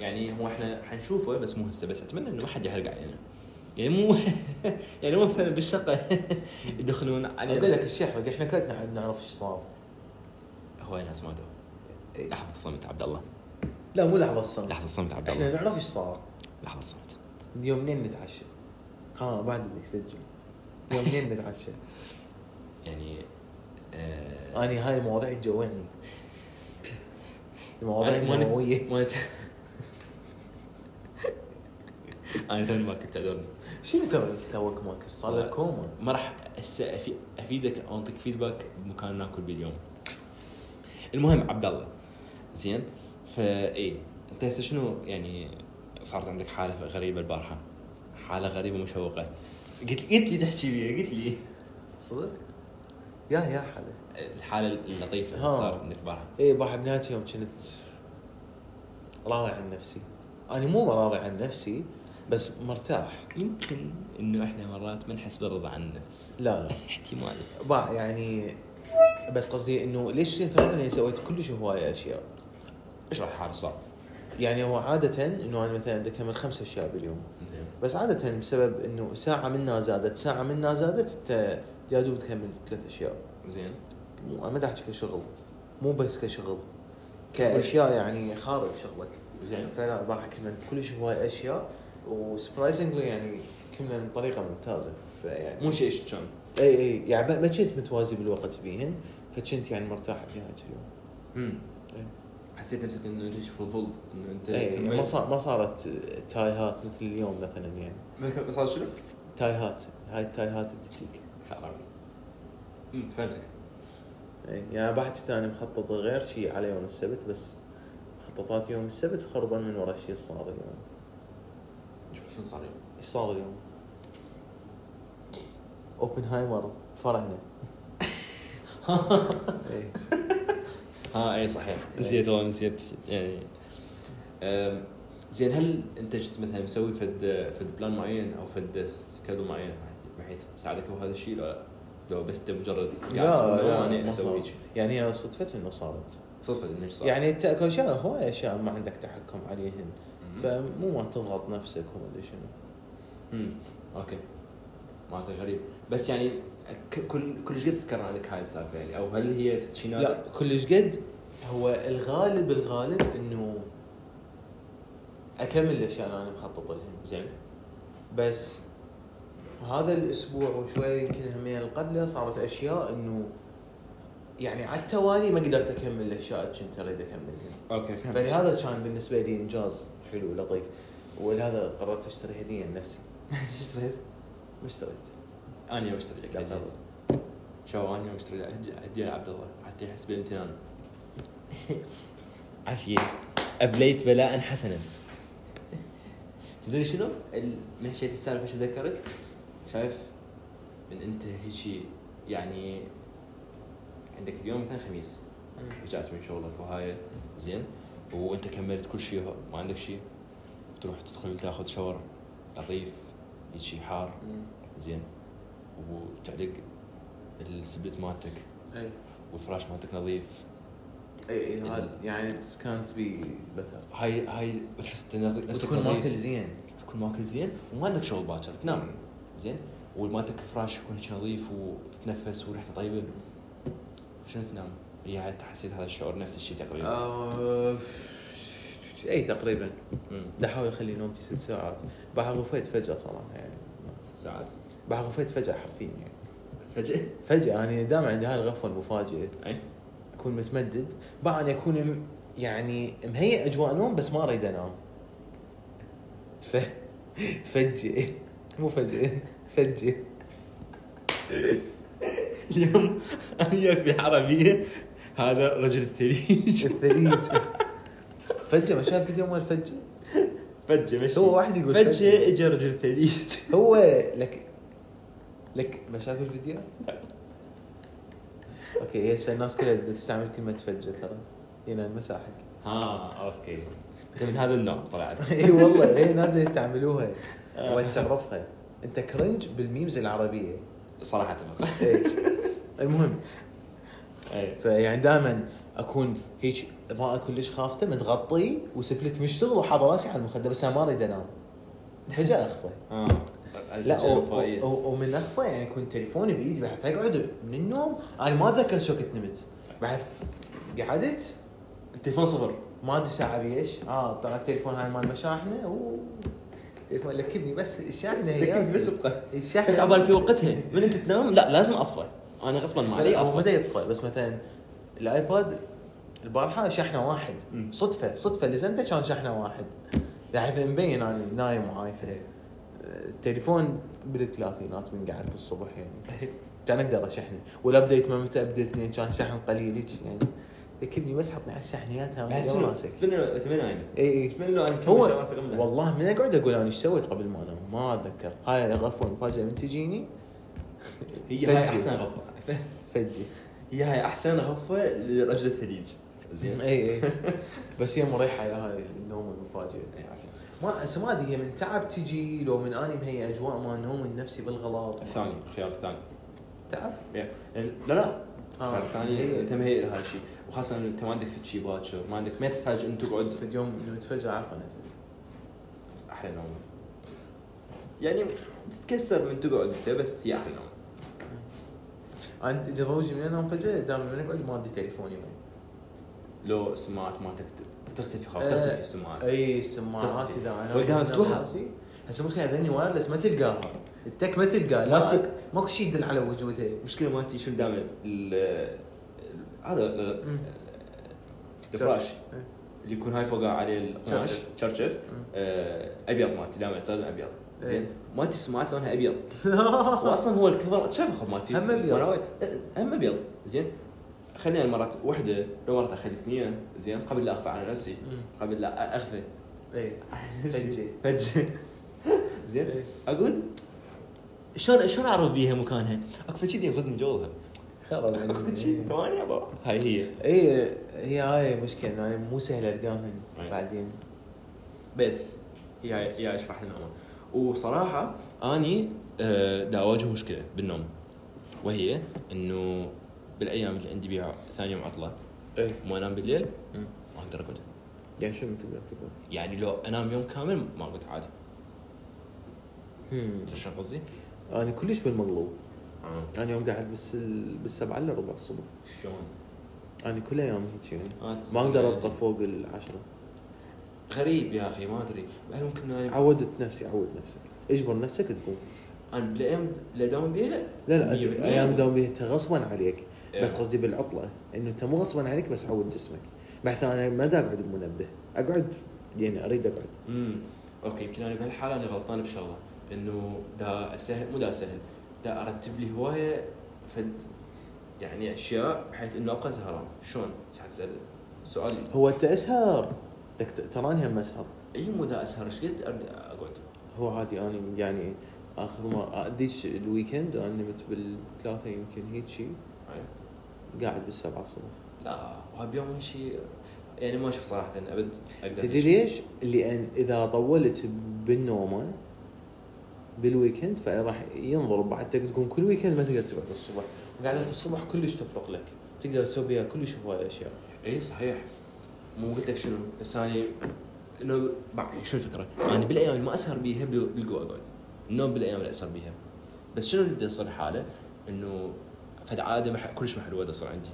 يعني هو احنا حنشوفه بس مو هسه بس اتمنى انه ما حد يحرق علينا يعني مو يعني مو مثلا بالشقه يدخلون علينا
اقول يعني لك الشيحوق احنا كلنا نعرف ايش صار
هواي ناس ماتوا لحظه صمت عبد الله
لا مو لحظه الصمت
لحظه صمت عبد
احنا
الله
نعرف ايش صار
لحظه صمت
يوم منين نتعشى ها آه، بعد اللي يسجل يوم منين نتعشى
يعني آه،
اني هاي المواضيع تجوعني المواضيع
أنا ما نت-
النوويه
ما نت- انا توني ما كنت ادري
شنو توك توك ماكل صار لك كوما
ما راح هسه أفي- افيدك او اعطيك فيدباك بمكان ناكل باليوم المهم عبد الله زين فاي انت هسه شنو يعني صارت عندك حاله غريبه البارحه حاله غريبه مشوقه قلت قلت لي تحكي بيها قلت لي
صدق؟ يا يا حلا
الحاله اللطيفه اللي
ها.
صارت عندك البارحه
اي باح بنهايه إيه، يوم كنت راضي عن نفسي انا مو راضي عن نفسي بس مرتاح
يمكن انه احنا مرات ما نحس بالرضا عن النفس
لا لا
احتمال
با يعني بس قصدي انه ليش انت راضي اني سويت كلش هواي اشياء
اشرح الحاله صار
يعني هو عاده انه انا مثلا عندك من خمس اشياء باليوم
زين
بس عادة بسبب انه ساعة منها زادت ساعة منها زادت انت يا دوب تكمل ثلاث اشياء
زين
مو انا ما احكي كشغل مو بس كشغل كاشياء يعني خارج شغلك
زين
فلا البارحة كملت كلش هواي اشياء وسبرايزنجلي يعني كملنا بطريقة ممتازة فيعني
مو شيء ايش كان
اي اي يعني ما- ما كنت متوازي بالوقت فيهن فكنت يعني مرتاح بنهاية اليوم
مم.
إيه.
حسيت نفسك انه انت فضلت انه انت
اي ما
كملت
صار ما صارت تايهات مثل اليوم مثلا يعني
ما صار شنو؟
تايهات هاي التايهات اللي تجيك
مم، فهمتك
اي يعني بحكي انا مخطط غير شيء على يوم السبت بس مخططات يوم السبت خربا من ورا شيء صار اليوم
شوف شنو صار اليوم
ايش صار اليوم؟ اوبنهايمر فرعنا إي.
ها اي صحيح نسيت والله نسيت يعني أم، زين هل انت جت مثلا مسوي فد فد بلان معين او فد سكادو معين بحيث ساعدك هذا الشيء ولا لا؟ لو بس انت مجرد قاعد تقول والله انا
ما
اسوي
صارت.
شيء.
يعني هي صدفة انه صارت
صدفه انه صار
يعني انت اكو اشياء هواي اشياء ما عندك تحكم عليهن
مم.
فمو ما تضغط نفسك وما ادري شنو
مم. اوكي معناته غريب بس يعني ك- كل كل شيء تذكر عندك هاي السالفه يعني او هل هي في شي نادر؟
لا كلش قد هو الغالب الغالب انه اكمل الاشياء اللي انا مخطط لها
زين
بس هذا الاسبوع وشوي يمكن همين اللي قبله صارت اشياء انه يعني على التوالي ما قدرت اكمل الاشياء اللي كنت اريد اكملها
اوكي فهمت
فلهذا كان بالنسبه لي انجاز حلو لطيف ولهذا قررت اشتري هديه لنفسي
شو اشتريت؟
ما اشتريت
انا يوم اشتري لك
لا
هدية.
قبل.
شو انا يوم اشتري لك هدية- هديه لعبد الله حتى يحس بامتنان عافيه ابليت بلاء حسنا تدري شنو؟ ال- من حكيت السالفه شو ذكرت؟ شايف من انت هيجي يعني عندك اليوم مثلا خميس رجعت من شغلك وهاي زين وانت كملت كل شيء ما عندك شيء تروح تدخل تاخذ شاور لطيف شيء حار
مم.
زين وتعلق السبلت مالتك
اي
والفراش مالتك نظيف
اي اي هذا يعني كانت بي بتر
هاي هاي وتحس إن نظ- نفسك
تكون
نظيف
ماكل زين
تكون ماكل زين وما عندك شغل باكر
نعم.
تنام زين ومالتك الفراش يكون هيك نظيف وتتنفس وريحته طيبه شنو تنام؟ هي هاي حسيت هذا الشعور نفس الشيء تقريبا
آه، إيه، اي تقريبا
مم.
بدي احاول اخلي نومتي ست ساعات بعد غفيت فجاه صراحه يعني
ست ساعات
بعد غفيت فجاه حرفيا يعني
فجأة
فجاه انا يعني دام عندي هاي الغفوه المفاجئه
اي
اكون متمدد بعد أنا اكون م- يعني مهيئ اجواء نوم بس ما اريد انام ف فجئ مو فجئ فجئ
اليوم انا وياك بالعربيه هذا رجل الثليج
الثليج فجأة ما شاف فيديو مال فجأة
فجأة مشي
هو واحد يقول فجأة.
اجى رجل الثليج
هو لك لك ما شاف الفيديو؟ اوكي هسه الناس كلها تستعمل كلمة فجأة ترى هنا المساحك
ها اوكي انت من هذا النوع طلعت
اي والله هي ناس يستعملوها وتعرفها انت كرنج بالميمز العربية
صراحه اتفق
إيه. المهم
اي
فيعني دائما اكون هيك اضاءة كلش خافته متغطي وسبلت مشتغل وحاضر راسي على المخده بس انا ما اريد انام فجأة اخفى
ها
لا
الفجأة
و-
الوفائية.
و- ومن اخفى يعني كنت تليفوني بايدي بعد فاقعد من النوم انا ما اتذكر شو كنت نمت بعد قعدت
التليفون صفر
ما ادري ساعه بيش اه طلع التليفون هاي مال مشاحنه و تليفون لكبني بس الشاحنه هي يعني؟
لكبني بس ابقى.
الشاحنه
عبالك في وقتها من انت تنام لا لازم اطفى انا غصبا ما علي
لا، هو
اطفى
بدا يطفى بس مثلا الايباد البارحه شحنه واحد
مم.
صدفه صدفه لزمته كان شحنه واحد بحيث مبين انا نايم وعايفه
إيه.
التليفون بالثلاثينات من قعدت الصبح يعني كان اقدر اشحنه والابديت ما متى ابديت لين كان شحن قليل هيك يعني لكني بس حطني على الشحنيات هاي
بعد
يلا
شنو؟
ماسك
اتمنى اتمنى نايم
اي اي
اتمنى لو انا كل
هو
شغلاتي قبلها.
والله من اقعد اقول انا ايش سويت قبل ما انام ما اتذكر هاي الغفوه المفاجاه من تجيني
هي هاي
فجي.
احسن غفوه
فجي
هي هاي احسن غفوه لرجل الثليج زين
اي اي إيه، بس هي مريحه يا هاي النوم المفاجئ
إي، عافية.
إيه. ما هسه ما ادري هي من تعب تجي لو من اني مهيئ اجواء ما نوم النفسي بالغلط
الثاني الخيار الثاني
تعب
يا. لا لا
آه. إيه.
الخيار الثاني
إي.
انت مهيئ لهذا الشيء وخاصه إن انت ما عندك في شيء باكر ما عندك ما تحتاج انت تقعد
في اليوم لما تفجع عارفه نفسي
احلى نوم يعني تتكسر من تقعد انت بس هي احلى نوم
انا إذا بوجي من انام فجاه دائما من اقعد ما ادري تليفوني وين
لو السماعات مالتك ت- تختفي خلاص
آه،
تختفي السماعات
اي السماعات
تختفي.
اذا انا
تلقاها مفتوحة.
راسي. هسه ممكن اذني وايرلس ما تلقاها التك ما تلقاها لا
ما تل-
أك- ماكو شيء يدل على وجودها
المشكله مالتي شنو دائما ال- ال- هذا ال-
مم.
الفراش
إيه.
اللي يكون هاي فوقه عليه القماش
شرشف.
شرشف
مم.
آه، ابيض مالتي دائما استخدم ابيض
إيه.
زين مالتي السماعات لونها ابيض واصلا هو الكفر شايف اخو مالتي
هم أبيض.
مالتي. هم ابيض زين خلينا مرات واحده لو مرات اخلي اثنين زين قبل لا اخفى على نفسي
مم.
قبل لا اخفى
اي فجي.
فجي
إيه.
زين اقول شلون شلون اعرف بيها مكانها؟ اكو شيء يغزني جوها
خرب
اكو شي ثواني أبا. هاي هي
اي إيه، هي هاي مشكله انه انا مو سهل القاهن
أي.
بعدين
بس يا يا اشبح النوم وصراحه اني آه، دا اواجه مشكله بالنوم وهي انه بالايام اللي عندي بيها ثاني يوم عطله
اي
مو انام بالليل
مم.
ما اقدر اقعد
يعني شنو تقدر تقول؟
يعني لو انام يوم كامل ما اقعد عادي
هم.
تعرف شنو قصدي؟
انا كلش بالمقلوب
آه.
انا يوم قاعد بس ال... بالسبعه الا ربع الصبح
شلون؟
انا كل ايام هيك يعني
آه،
ما اقدر ابقى فوق العشره
غريب يا اخي ما ادري هل ممكن اني
عودت نفسي عود نفسك اجبر نفسك تقوم
انا بالايام اللي اداوم بيها
لا لا
مية
أز-
بالمية.
ايام دوام بيها انت غصبا عليك
إيه.
بس قصدي بالعطله انه انت مو غصبا عليك بس عود جسمك بحيث انا ما دا اقعد بمنبه اقعد يعني اريد اقعد
امم اوكي يمكن انا بهالحاله انا غلطان بشغله انه دا اسهل مو دا اسهل دا ارتب لي هوايه فد يعني اشياء بحيث انه ابقى سهران شلون؟ ايش حتسال؟ سؤال
هو انت اسهر دك- تراني هم اسهر
اي إيه، مو دا اسهر ايش قد أرد- اقعد؟
هو عادي انا يعني آه، اخر ما ذيك الويكند انا نمت بالثلاثه يمكن هيك شيء
يعني
قاعد بالسبعه الصبح
لا وهاليوم شيء يعني ما اشوف صراحه ابد اقدر
تدري ليش؟ لان اذا طولت بالنومه بالويكند فراح ينضرب بعدك تقوم كل ويكند ما تقدر تقعد الصبح، قعدة الصبح كلش تفرق لك، تقدر تسوي بها كلش هواي اشياء.
اي إيه، صحيح مو قلت لك شنو بس اني انه بع- يعني شنو الفكره؟ انا بالايام اللي ما اسهر بيها بال- بالقوة اقعد النوم بالايام اللي اسهر بيها بس شنو اللي بدي يصير حاله؟ انه فد عاده مح... كلش محلوه بدي تصير عندي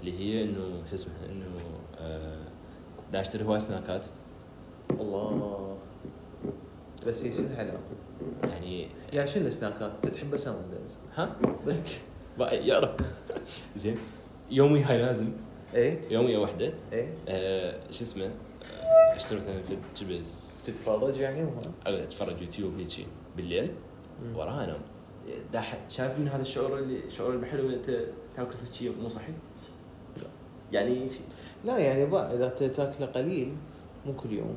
اللي هي انه شو اسمه انه آه... دا اشتري هواي سناكات
الله بس هي شنو الحلاوه؟
يعني
يا شنو السناكات؟ انت تحب بس هامبرجرز.
ها
بس
بقى- يا رب زين يومي هاي لازم
ايه
يومي واحده
ايه
آه... شو اسمه آه، اشتري مثلا في جبس
تتفرج يعني وها؟
اقعد اتفرج يوتيوب هيجي بالليل وراها انام داح شايف ان هذا الشعور اللي شعور اللي حلو إن انت تاكل في شيء مو صحي؟ يعني شيء-
لا يعني بقى اذا انت تاكله قليل مو كل يوم.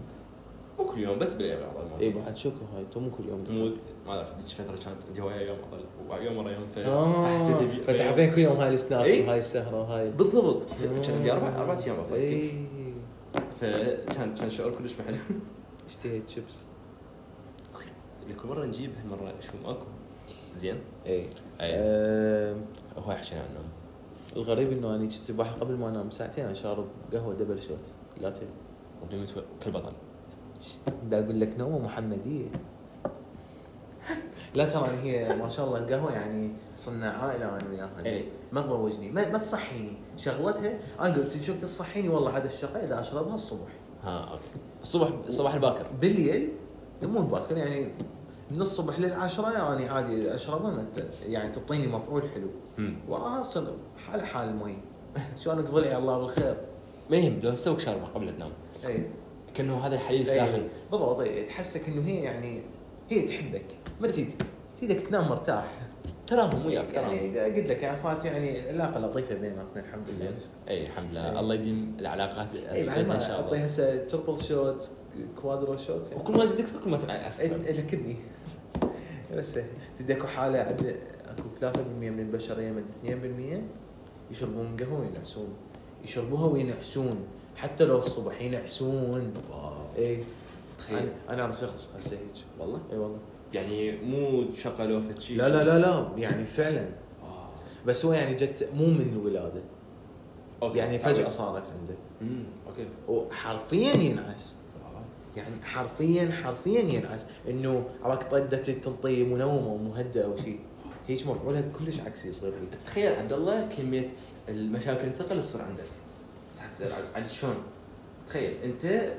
مو كل يوم بس بالايام العضل
اي بعد شكو هاي انت مو كل يوم.
مو ما اعرف ذيك الفتره كانت عندي هوايه يوم عضل ويوم ورا يوم ف- فحسيت
اه
بي-
فتعرفين كل يوم هاي السناكس
إيه.
وهاي السهره وهاي إيه.
بالضبط ف- كان عندي اربع اربع ايام عضل
اي
فكان كان شعور كلش حلو
اشتهيت شيبس
لك مره نجيب هالمره شو ماكو زين
اي
اي إيه. هو حكينا عن النوم
آه، الغريب انه انا كنت بح- قبل ما انام ساعتين انا شارب قهوه دبل شوت لاتيه
ونمت و- كالبطل
دا اقول لك نومه محمديه لا ترى أنا هي ما شاء الله القهوه يعني صرنا عائله انا وياها
إيه.
ما تضوجني ما, ما تصحيني شغلتها انا قلت شوف تصحيني والله عاد الشقه اذا اشربها الصبح
ها اوكي الصبح الصباح الباكر
بالليل مو باكر يعني من الصبح للعشرة يعني عادي اشربها ما ت- يعني تعطيني مفعول حلو
مم.
وراها صن حال حال المي شلونك ضلعي الله بالخير إيه.
ما يهم لو سوق شاربه قبل تنام
اي
كانه
إيه.
هذا الحليب الساخن
إي. بالضبط اي تحسك انه هي يعني هي تحبك ما تيجي تيجيك تنام مرتاح
تراهم وياك تراهم
يعني قلت لك يعني صارت يعني علاقه لطيفه بيناتنا الحمد لله
زين اي إيه، الحمد
إي.
لله الله يديم العلاقات
اي بعد
إن
إيه. ما
شاء الله.
اعطيها هسه تربل شوت كوادرو شوت يعني
وكل ما زدت كل ما تنعس
إيه، لكني بس تدري اكو حاله عند اكو 3% من البشريه من 2% يشربون قهوه وينعسون يشربوها وينعسون حتى لو الصبح ينعسون إيه،
واو.
اي
تخيل
انا انا اعرف شخص هسه هيك
والله
اي والله
يعني مو شغله في شيء
لا لا لا لا يعني فعلا
آه.
بس هو يعني جت مو من الولاده
اوكي
يعني فجاه صارت عنده
امم اوكي
وحرفيا ينعس
آه.
يعني حرفيا حرفيا ينعس انه عراك طدت تنطي منومه ومهدئه او شيء هيك مفعولها كلش عكسي يصير لي
تخيل عبد الله كميه المشاكل الثقل اللي تصير عندك صح تسال عن- عن شلون تخيل انت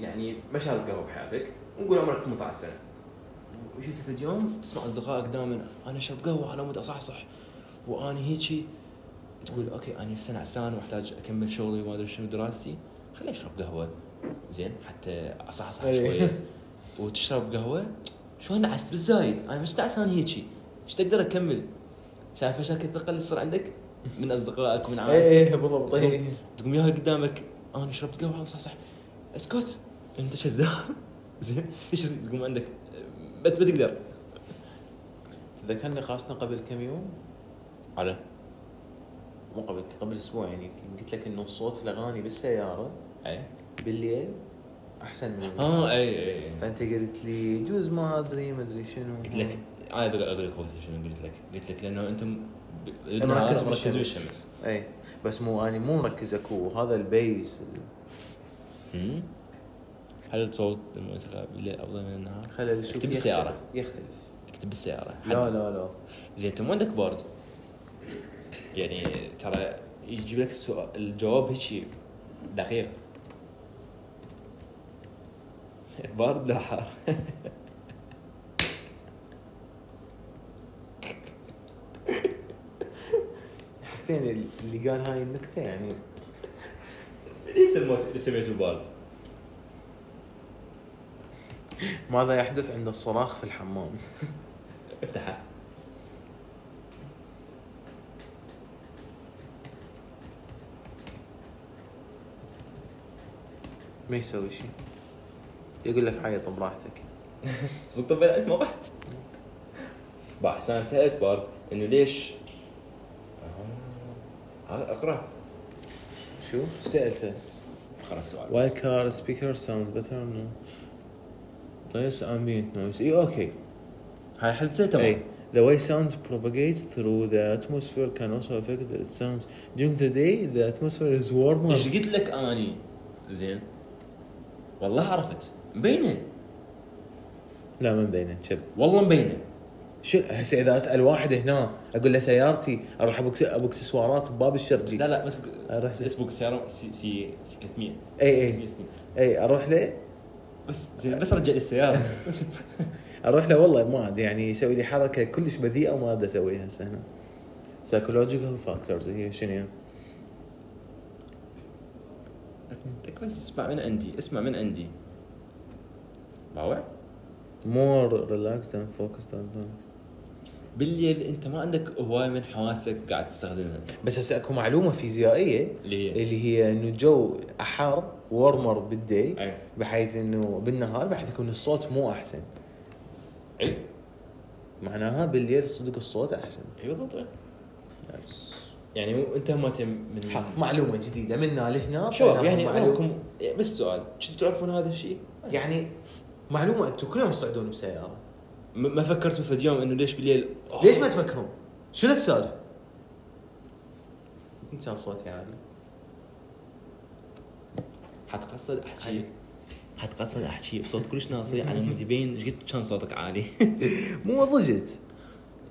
يعني ما شارب قهوه بحياتك ونقول عمرك 18 سنه وجيت في اليوم تسمع اصدقائك دائما انا اشرب قهوه على مود اصحصح وانا هيجي تقول اوكي انا هسه نعسان واحتاج اكمل شغلي وما ادري شنو دراستي خليني اشرب قهوه زين حتى اصحصح
إيه.
شويه وتشرب قهوه شو نعست بالزايد انا مش نعسان هيجي ايش تقدر اكمل شايف مشاكل الثقل اللي تصير عندك من اصدقائك من عائلتك
اي اي بالضبط اي
تقوم ياها قدامك انا شربت قهوه صح صح اسكت انت كذاب زين ايش تقوم عندك ما ما تقدر
تذكرني نقاشنا قبل كم يوم
على
مو قبل قبل اسبوع يعني يمكن قلت لك انه صوت الاغاني بالسياره
اي
بالليل احسن من
اه اي اي اي
فانت آه، قلت لي جوز ما ادري ما ادري شنو
قلت لك انا بقى اقول لك وقتها شنو قلت لك قلت لك لانه انت م- ب-
مركز
بالنهار مركز
بالشمس.
بالشمس
اي إيه، بس مو اني مو مركز اكو هذا البيس
مم. هل صوت الموسيقى بالليل افضل من النهار؟
خلل شوف
اكتب بالسياره
يختلف- يختلف
اكتب بالسياره
لا
حدد.
لا لا
زين انت مو عندك بورد يعني ترى يجيب لك السؤال الجواب هيك دقيق بارد لا حار
حرفيا اللي قال هاي النكته يعني
ليش سميته سميته بارد؟
ماذا يحدث عند الصراخ في الحمام؟
افتحها
ما يسوي شيء يقول لك عيط براحتك
صدق بلا الموقع بس انا سالت بارد انه ليش آه. اقرا
شو؟ سالته
اقرا السؤال
Why
بس.
car speaker sound better no less ambient noise اي اوكي
هاي حلسيته
اي
تمام
The way sound propagates through the atmosphere can also affect the sounds. During the day, the atmosphere is warmer.
ايش قلت لك اني زين والله عرفت مبينه
لا ما مبينه شب
والله مبينه
شو هسه اذا اسال واحد هنا اقول له سيارتي اروح ابو ابو اكسسوارات بباب الشرقي
لا لا بس
أروح إيه،
بس بوك سياره سي سي سي 300
إي إي.
600 سنين.
اي اروح إيه، له
بس زين بس رجع لي السياره
اروح له والله ما ادري يعني يسوي لي حركه كلش بذيئه وما ادري اسويها هسه هنا سايكولوجيكال فاكتورز هي شنو يعني؟
لك بس اسمع من عندي اسمع من عندي باوع
مور ريلاكس اند فوكس اون ثينجز
بالليل انت ما عندك هواي من حواسك قاعد تستخدمها
بس هسه اكو معلومه فيزيائيه
اللي هي
اللي هي انه الجو احار وارمر بالدي
اي
بحيث انه بالنهار بحيث يكون الصوت مو احسن إيه.
اي
معناها بالليل صدق الصوت احسن
اي إيه بالضبط إي.
بس
يعني مو- انت ما تم من
حق معلومه جديده منا لهنا
شباب
طلعنا
يعني
طيب، معلومة.
معلومكم بس سؤال شو تعرفون هذا الشيء؟
يعني معلومه انتم كلهم تصعدون بسياره
ما ما فكرتوا في اليوم انه ليش بالليل أوه.
ليش ما تفكرون؟ شنو السالفه؟ يمكن كان صوتي عالي
حتقصد احكي حتقصد احكي بصوت كلش ناصي على مود يبين ايش قد كان صوتك عالي
مو ضجت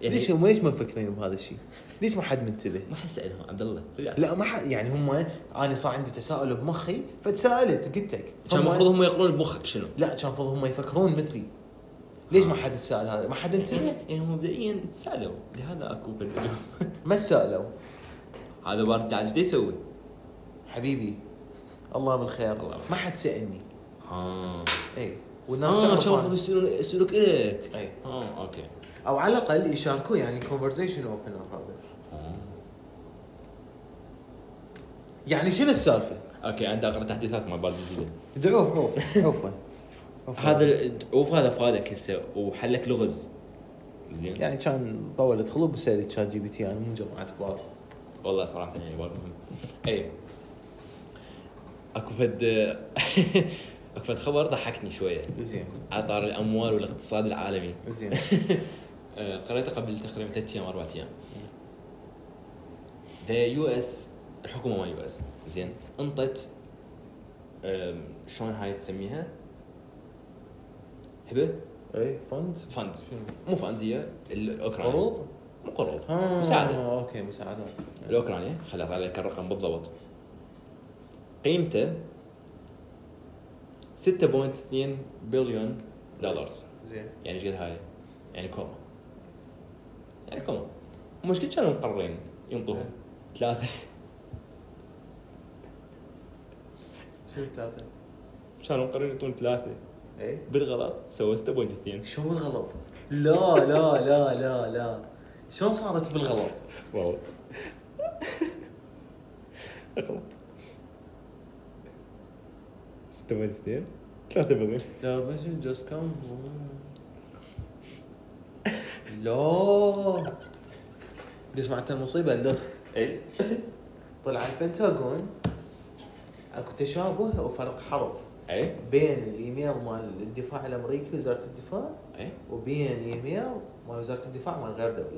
يعني
ليش هم ليش ما مفكرين بهذا الشيء؟ ليش ما حد منتبه؟
ما حس سالهم عبد الله ريلاكس.
لا ما حد يعني هم انا صار عندي تساؤل بمخي فتساءلت قلت لك
كان
هم-
المفروض هم يقرون بمخك شنو
لا كان المفروض هم يفكرون مثلي ليش ما حد تساءل هذا؟ ما حد انتبه؟
يعني هم مبدئيا تسالوا لهذا اكو بالنجوم
ما تساءلوا
هذا بارد داعش ايش يسوي؟
حبيبي الله بالخير
الله بالخير.
ما حد سالني
اه
اي والناس
اه
تعرف
كان المفروض
أنا.
يسالون يسالوك الك
اي
اه اوكي
او على الاقل يشاركوه يعني كونفرزيشن اوبنر هذا
آه.
يعني شنو السالفه؟
اوكي عندي اقرا تحديثات مع بارد جديد
دعوه عوف عفوا
هذا الدعوف هذا فادك هسه وحلك لغز زين
يعني كان طولت خلوب وسالت شات جي بي تي يعني انا مو جماعه بار
والله صراحه يعني برضه مهم اي اكو فد اكو فد خبر ضحكني شويه
زين
على طار الاموال والاقتصاد العالمي
زين
آه، قريته قبل تقريبا ثلاث ايام اربع ايام ذا يو اس الحكومه مال يو اس زين انطت آم، شلون هاي تسميها؟ هبه
اي إيه، فند
فند مو فند هي الاوكرانيا
قروض؟
مو قروض
آه،
مساعدة.
اوكي مساعدات
الاوكرانيا خليني اطلع لك الرقم بالضبط قيمته 6.2 بليون دولار
زين
يعني ايش قد هاي؟ يعني كوما يعني كوما هم ايش قد كانوا مقررين ينطوهم؟ ثلاثة
شنو ثلاثة؟
كانوا مقررين ينطون ثلاثة
اي
بالغلط سووا 6.2
إيه. شو بالغلط؟ لا لا لا لا لا شلون صارت بالغلط؟
واو اغلط 6.2 ثلاثة بليون
لا بس جوست كم لا دش معناتها المصيبه اللخ
اي
طلع البنتاغون اكو تشابه وفرق حرف
اي
بين الايميل مال الدفاع الامريكي وزاره الدفاع
اي
وبين ايميل مال وزاره الدفاع مال غير دوله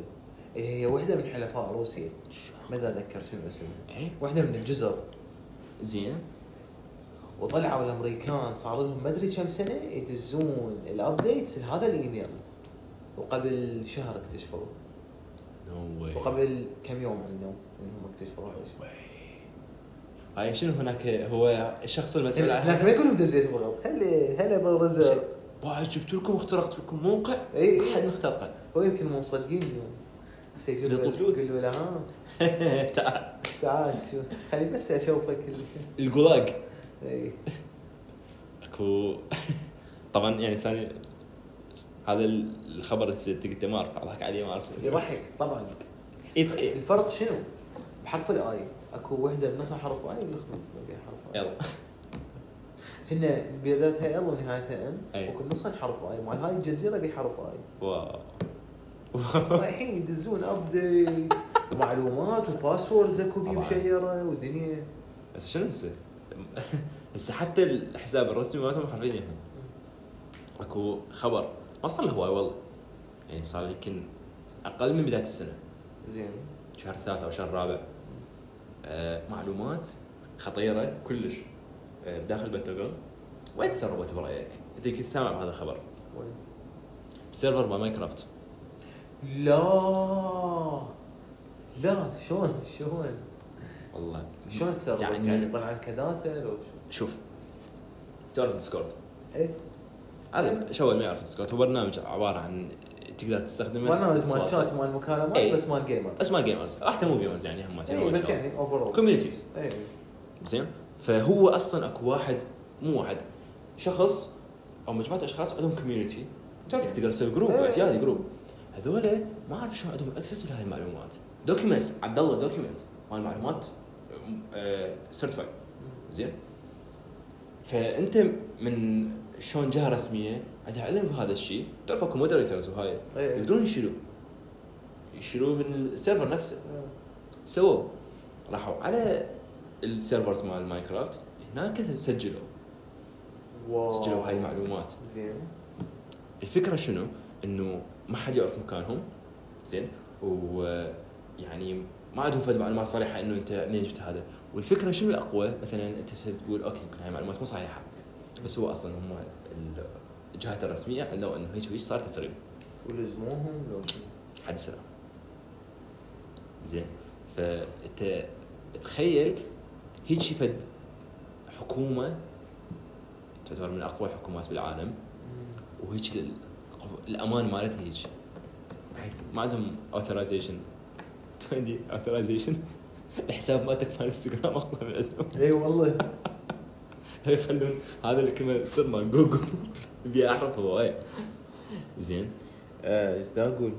اللي هي واحده من حلفاء روسيا ما دا اذكر شنو اسمها
اي
واحده من الجزر
زين
وطلعوا الامريكان صار لهم ما ادري كم سنه يدزون الابديتس لهذا الايميل وقبل شهر اكتشفوا
نو واي
وقبل كم يوم عنه انهم اكتشفوا هذا الشيء
هاي يعني شنو هناك هو الشخص المسؤول عن
لكن ما يقولون دزيت بالغلط هلا هلا بالرزق
واي جبت لكم واخترقت لكم موقع
إي إي.
احد مخترقه
هو يمكن مو مصدقين إنه بس يجون
يعطوا فلوس.
يقول له لا ها
تعال
تعال شو خلي بس اشوفك ال... إيه،
الجولاج
اي
اكو طبعا يعني ثاني هذا الخبر قلت ما اعرف اضحك عليه ما اعرف
يضحك طبعا
يضحك
الفرق شنو؟ بحرف الاي اكو وحده بنصها حرف اي والاخرى بها حرف اي
يلا
هن بدايتها ال ونهايتها ام
أي.
وكل نصها حرف اي مال هاي الجزيره بحرف اي
واو
الحين يدزون ابديت ومعلومات وباسوردز اكو بيه
طبعاً.
مشيره ودنيا
بس شنو هسه؟ هسه حتى الحساب الرسمي مالتهم عارفين يعني اكو خبر ما صار له هواي والله يعني صار لي يمكن اقل من بدايه السنه
زين
شهر ثلاثة او شهر رابع آه معلومات خطيره كلش آه بداخل البنتاغون وين تسربت برايك؟ انت يمكن سامع بهذا الخبر
وين؟
سيرفر مال ماينكرافت
لا لا شلون شلون
والله
شلون تسربت يعني,
يعني-
يعني طلع لك داتا لو شو؟
شوف تعرف ديسكورد
ايه إيه.
هذا شو ما يعرف ديسكورد هو برنامج عباره عن تقدر تستخدمه
برنامج مال
تتواصل.
شات مال مكالمات
إيه.
بس مال جيمر
بس ما جيمرز راح مو جيمرز يعني هم
اي بس يعني إيه، اوفر
كوميونيتيز
اي
زين فهو اصلا اكو واحد مو واحد شخص او مجموعه اشخاص عندهم كوميونيتي
زين.
تقدر تسوي جروب
إيه.
اعتيادي جروب هذول ما اعرف شلون عندهم اكسس لهاي المعلومات دوكيومنتس عبد الله دوكيومنتس مال المعلومات سيرتيفايد زين فانت من شلون جهه رسميه اتعلم بهذا الشيء تعرف اكو مودريترز وهاي
إيه.
يقدرون يشيلوه يشيلوه من السيرفر نفسه سووا راحوا على السيرفرز مال ماينكرافت هناك سجلوا
واو
سجلوا هاي المعلومات
زين
الفكره شنو انه ما حد يعرف مكانهم زين ويعني ما عندهم فد معلومات صريحه انه انت منين جبت هذا والفكره شنو الاقوى مثلا انت هسه تقول اوكي يمكن هاي معلومات مو صحيحه بس هو اصلا هم ال- الجهات الرسميه علوا انه هيك وهيك صار تسريب
ولزموهم لو شو؟
حد السلام زين فانت تخيل هيك فد حكومه تعتبر من اقوى الحكومات بالعالم وهيك ال- الامان مالتها هيك بحيث ما عندهم اوثرايزيشن عندي اوثرايزيشن الحساب مالتك مال انستغرام اقوى من عندهم
اي إيه، والله
يخلون هذا الكلمه سر مال جوجل ابي اعرفها وايد إيه. زين
آه، ايش دا اقول؟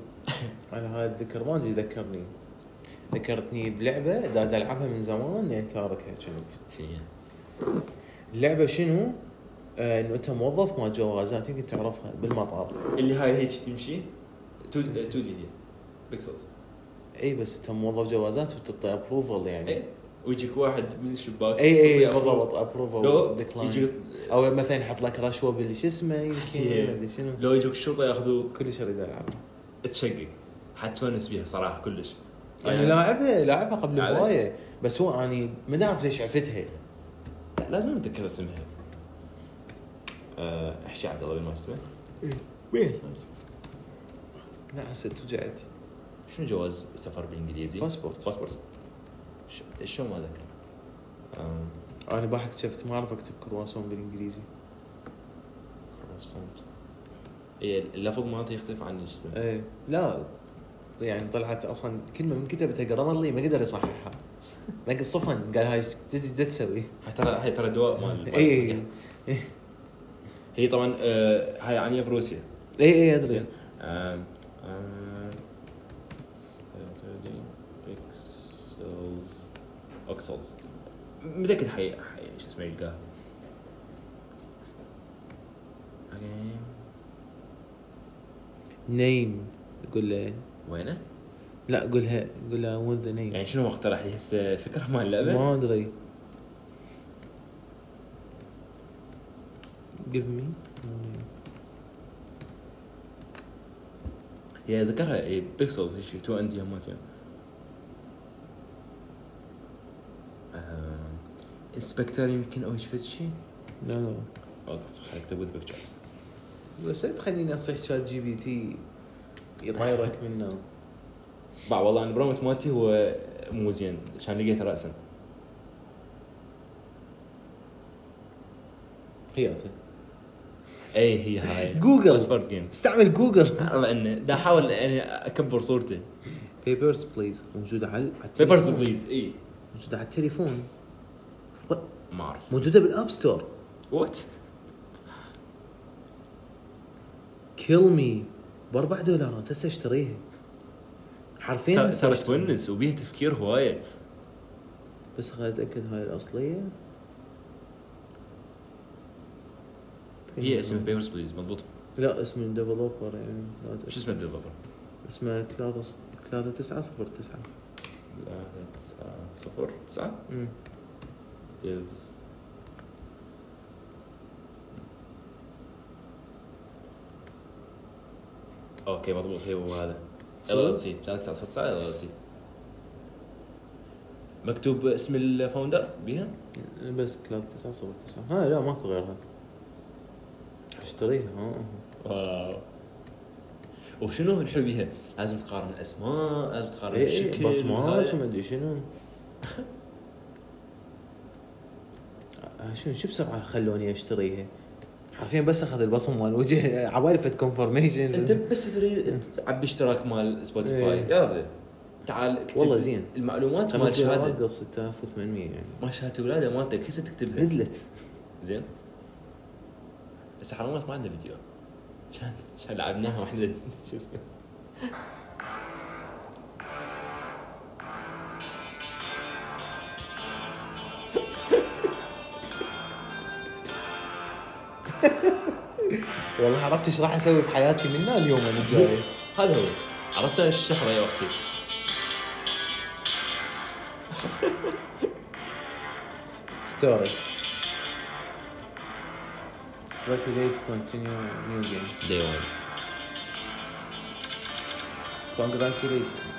انا هاي الذكر ما ادري ذكرني ذكرتني بلعبه دا دا العبها من زمان يعني لين تاركها كنت
شنو هي؟
اللعبه شنو؟ آه، انه انت موظف مال جوازات يمكن تعرفها بالمطار
اللي هاي هيك تمشي 2 دي هي بيكسلز
اي بس انت موظف جوازات وتعطي ابروفل يعني
ايه ويجيك واحد من الشباك
اي اي
يعطيه
بالضبط
لو
ابروفل
يجيك
ديكلاين او مثلا يحط لك رشوه بال شو اسمه يمكن
أكيد.
ما ادري شنو
لو يجوك الشرطه ياخذوك
كلش اريد العبها
تشقق حتفنس بيها صراحه كلش يعني
انا لاعبها لاعبها يعني قبل
عليك.
هوايه بس هو اني ما اعرف ليش عفتها
لازم اتذكر اسمها آه، احكي عبد الله بالما اسمه وين
لا حسيت وجعت
شنو جواز السفر بالانجليزي؟
باسبورت
باسبورت ش- شو ما آه، ذكر آم،
انا باحك شفت ما اعرف اكتب كرواسون بالانجليزي
كروسانت. إيه، اللفظ مالته يختلف عن شو اسمه
ايه لا يعني طلعت اصلا كلمه من كتبتها جرامرلي ما قدر يصححها ما قد صفن قال هاي ايش تسوي؟ إيه،
هاي ترى هاي ترى دواء مال
اي
هي طبعا آه، هاي عمية بروسيا
اي اي
زين
ادري
آم، آم، uh, Saturday Pixels اوكسلز متاكد حي حي شو اسمه يلقاها اوكي
نيم يقول له
وينه؟
لا قولها قولها وين ذا نيم
يعني شنو اقترح لي هسه فكره مال اللعبه؟
ما ادري give me
يا ذكرها اي بيكسلز هيك شي، تو عندي همتين آه، انسبكتر يمكن او شفت شيء
لا لا
اوقف خليك تقول بيكتشرز
بس لا تخليني اصيح شات جي بي تي يطيرك منه
باع والله انا برومت مالتي هو مو زين عشان لقيته راسا
هي
اي إيه، هي هاي
جوجل.
سبورت جيم
استعمل جوجل
الله انه دا احاول يعني اكبر صورته
بيبرز بليز موجودة على على التليفون.
بيبرز بليز اي
موجودة على التليفون
إيه. ما اعرف
موجودة بالاب ستور
وات
كيل مي باربع دولارات هسه اشتريها حرفيا هسه
ترى
اشتريها.
تونس وبيها تفكير هوايه
بس خليني اتاكد هاي الاصلية
هي اسمها بيبرز بليز مضبوط
لا اسم الديفلوبر يعني لا أدري.
شو اسمه الديفلوبر؟
اسمه كلاذا ص- كلاذا 9 0 9
uh, صفر تسعة ديف اوكي مضبوط هي هو هذا ال ال سي 3909 ال ال سي مكتوب اسم الفاوندر بيها؟ يعني
بس كلاذا 9 0 9 ها لا ماكو غيرها اشتريها ها
آه. واو وشنو الحلو بيها؟ لازم تقارن اسماء، لازم تقارن
اي
الشكل
اي إيه، بصمات
وهذا.
وما ادري شنو آه، شنو شو بسرعه خلوني اشتريها حرفيا بس اخذ البصمه مال وجهي عبالي فد كونفرميشن
انت بس تريد تعبي اشتراك مال سبوتيفاي
إيه.
يلا تعال اكتب
والله زين.
المعلومات مال
خمس
شهاده
دولارات قص 6800 يعني
ما شهادة ولاده مالتك هسه تكتبها
نزلت
زين بس حرامات ما عندنا فيديو كان كان لعبناها واحنا شو اسمه
والله عرفت ايش راح اسوي بحياتي من هنا اليوم اللي جاي
هذا هو عرفت الشهرة يا اختي
ستوري select a day to continue new game
دي وان
congratulations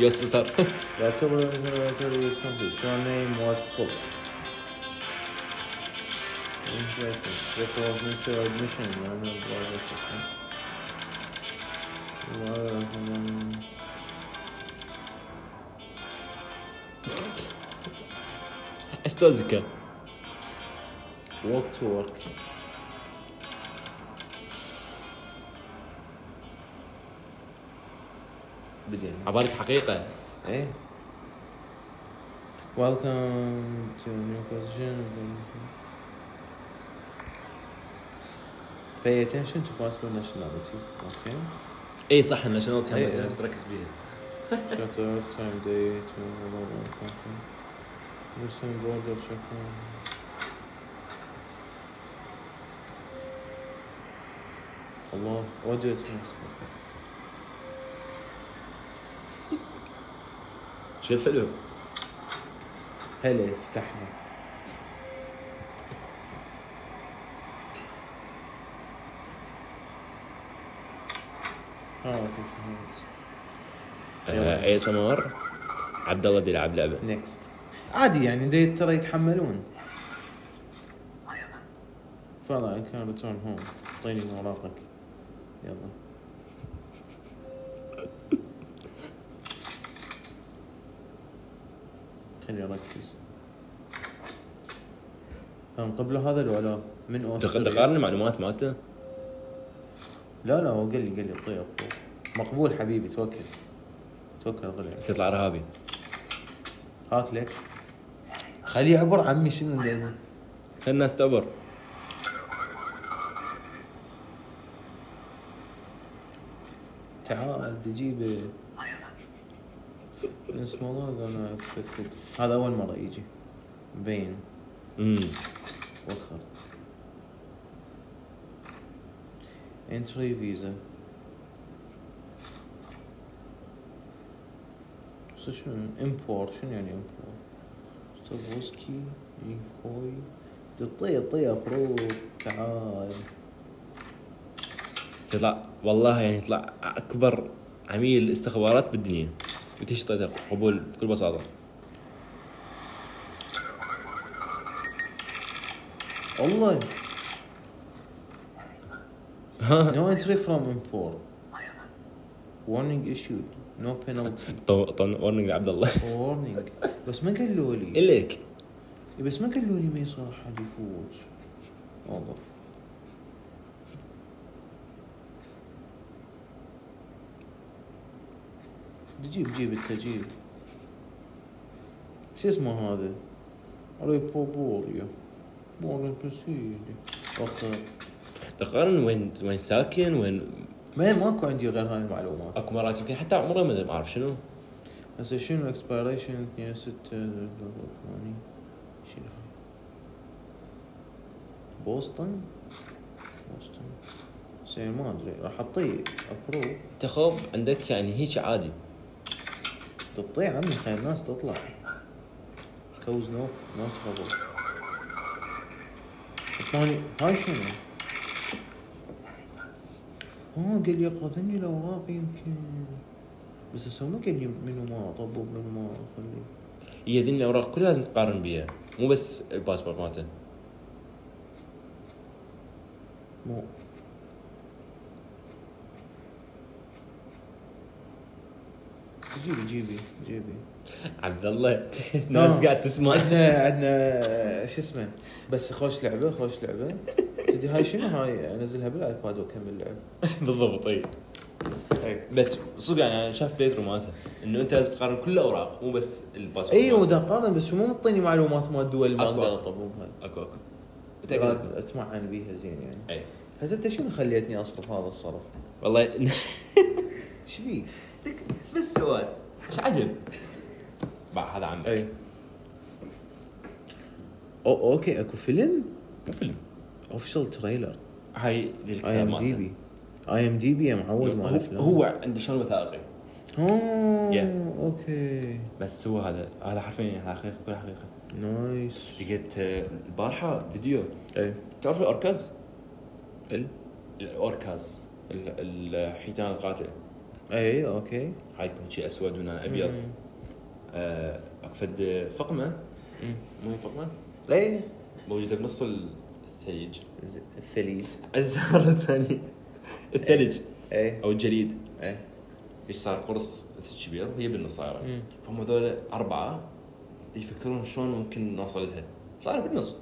يا صار
the October observatory is complete your name was pulled interesting record of Mr. admission I don't know why that's okay. Well, um,
استوزكا
walk to work
بعدين عبالك حقيقة
ايه Welcome to new position. Pay attention to possible nationality. Okay.
اي صح الناشونالتي
إيه.
هم نفس ركز بيها
Shut up, time day to another country. Western border checkpoint. الله وجهة مسكوكة
شيء حلو
هلا فتحنا اه اوكي فهمت يلا.
اي اس ام ار عبد الله دي يلعب لعبة
نيكست عادي يعني دي ترى يتحملون فلا اي كان ريتيرن هوم اعطيني اوراقك يلا خليني اركز هم قبله هذا الولا من
تق-
اوستراليا
تقارن المعلومات مالته
لا لا هو قال لي قال لي طيب مقبول حبيبي توكل توكل طلع
بس يطلع ارهابي
هاك لك خليه يعبر عمي شنو اللي-
خلي الناس تعبر
تعال تجيب اسم الله انا اكسبكتد هذا اول مره يجي مبين
امم
وخر انتري فيزا هسه شنو امبور شنو يعني امبور؟ ستافوسكي ميكوي طي طي افروض تعال
طلع والله يعني طلع اكبر عميل استخبارات بالدنيا قلت اعطيته قبول بكل بساطه
والله
ها
No entry from import. Warning issued. No penalty.
ورنينج لعبد الله إيه
Warning. بس ما قالوا لي
الك
بس ما قالوا لي ما يصير حد يفوت. والله جيب جيب التجيب شو اسمه هذا؟ ريبو بوريو بوريو بسيدي اخر
تقارن وين وين ساكن وين
ما ماكو عندي غير هاي المعلومات
اكو مرات يمكن حتى عمره ما ما اعرف شنو
هسه شنو اكسبيريشن 2 6 ثمانية شنو هاي؟ بوسطن بوسطن زين ما ادري راح اطيع ابروف
انت خوب عندك يعني هيك عادي
تطيع عمي خير ناس تطلع كوز نو نو ترابل ثمانية هاي شنو؟ ها آه، قال يقرضني الاوراق يمكن بس هسه ما قال لي منو ما طبب منو ما خلي
هي ذي الاوراق كلها لازم تقارن بيها مو بس الباسبور مالته
مو جيبي جيبي جيبي
عبد الله الناس قاعد تسمع
عندنا عندنا شو اسمه بس خوش لعبه خوش لعبه تدري هاي شنو هاي انزلها بالايباد واكمل لعب
بالضبط اي
اي
بس صدق يعني انا شاف بيترو مالته انه انت لازم تقارن كل الاوراق مو بس الباسبور
ايوه
مالته.
دا قارن بس شو مو معطيني معلومات مال الدول ما
أكو.
اقدر اطببها
اكو اكو متاكد اكو
لا، اتمعن بيها زين يعني
اي
هسه انت شنو خليتني اصرف هذا الصرف؟
والله
ايش بيك؟
بس سؤال ايش عجب بع هذا عمي
اي أو اوكي اكو فيلم
مو فيلم
اوفشل تريلر
هاي
اي
للكتاب
ام دي
مالته
بي اي ام دي بي يا معود مال
هو,
الافلام
هو عنده شلون وثائقي
اه
Yeah.
اوكي بس
بس هو هذا هذا حرفيا هذا حقيقه كل حقيقه
نايس
لقيت آه، البارحه فيديو
اي
تعرف الاوركاز؟
ال-
الاوركاز ال- الحيتان القاتله
اي ايه، اوكي
هاي تكون شيء اسود ونان ابيض
مم.
آه، اقفد فقمه
مم.
مو هي فقمه
اي
موجوده بنص الثلج
ز- الثليج
الزهر الثاني الثلج
اي
او الجليد
اي
ايش صار قرص مثل كبير وهي بالنص صايره
مم.
فهم هذول اربعه يفكرون شلون ممكن نوصل لها صار بالنص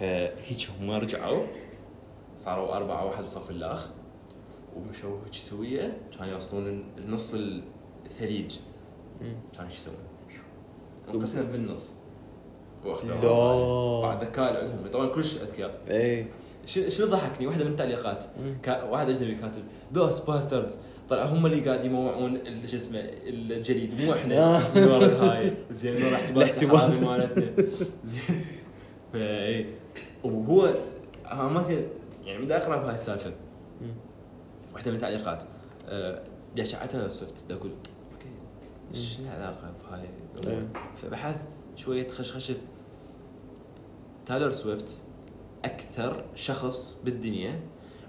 فهيك هم رجعوا صاروا اربعه واحد بصف الاخ ومشوا هيك سويه كانوا يوصلون لنص الثليج
مم.
كانوا ايش يسوون؟ انقسم بالنص
لا.
واخذوا بعد الذكاء اللي عندهم طبعا كلش اذكياء
اي
شنو شنو ضحكني واحده من التعليقات
مم.
كا- واحد اجنبي كاتب ذوز باستردز طلع هم اللي قاعد يموعون ال- شو اسمه الجليد مو احنا
آه.
من ورا الهاي زين من ورا احتباس
الاحتباس.
الحرامي مالتنا زين فاي وهو أنا ما أدري- يعني بدي اقرا بهاي السالفه
مم.
واحده من التعليقات آه، بدي اشعتها سوفت بدي اقول اوكي شنو العلاقه بهاي الأمور؟ فبحثت شويه خشخشه تايلر سويفت اكثر شخص بالدنيا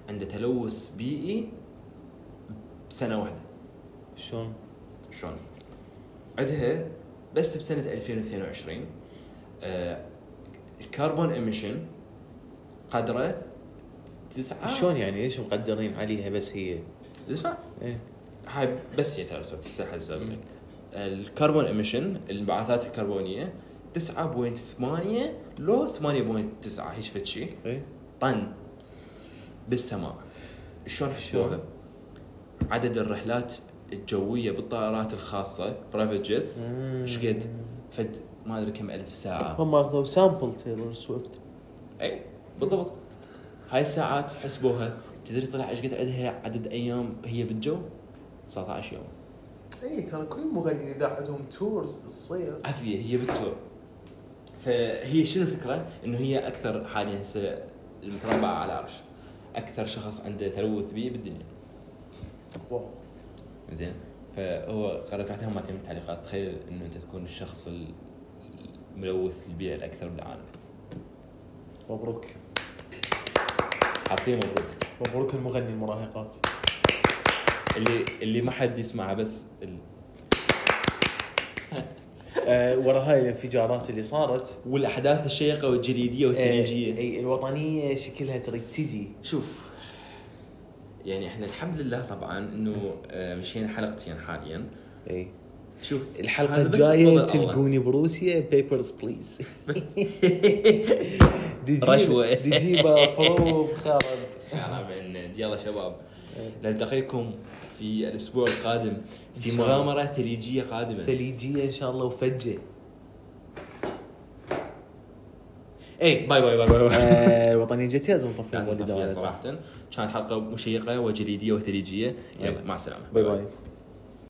عنده تلوث بيئي بسنه واحده
شلون؟
شلون؟ عندها بس بسنه 2022 آه، الكربون ايميشن قدره تسعة
شلون يعني ليش مقدرين عليها بس هي؟
اسمع
ايه
هاي بس هي تايلر سويفت تستحق السؤال الكربون ايميشن الانبعاثات الكربونيه 9.8 لو 8.9 هيك فد شيء
ايه
طن بالسماء شلون حسبوها؟ عدد الرحلات الجويه بالطائرات الخاصه برايفت جيتس
مم.
ايش قد؟ فد ما ادري كم الف ساعه
هم اخذوا سامبل تايلور سويفت
اي بالضبط هاي الساعات حسبوها تدري طلع ايش قد عندها عدد ايام هي بالجو؟ 19 يوم
اي إيه، ترى كل مغني اذا عندهم تورز تصير
عافيه هي بالتور فهي شنو الفكره؟ انه هي اكثر حاليا هسه المتربعه على العرش اكثر شخص عنده تلوث بيئي بالدنيا
واو
زين فهو قرأت واحدة مالت من التعليقات تخيل انه انت تكون الشخص الملوث البيئة الاكثر بالعالم
مبروك
حرفيا مبروك
مبروك المغني المراهقات
اللي اللي ما حد يسمعها بس ال...
آه، ورا هاي الانفجارات اللي صارت
والاحداث الشيقة والجليدية والثلجية
آه، اي الوطنيه شكلها تريد تجي
شوف يعني احنا الحمد لله طبعا انه آه، مشينا حلقتين حاليا
اي
شوف
الحلقه
هذا بس
الجايه
الأول.
تلقوني بروسيا بيبرز بليز
رشوة.
ديجيبا بروب خرب
حرام عنا. يلا شباب
إيه.
نلتقيكم في الاسبوع القادم في
إن شاء الله.
مغامرة ثليجية قادمة
ثليجيه ان شاء الله وفجه
اي إيه، باي باي باي باي, باي.
آه، وطنيه جت لازم نطفي
لازم
المولد
نطفيها
هذا.
صراحة كان حلقة مشيقة وجليدية وثليجية يلا مع السلامة
إيه. باي باي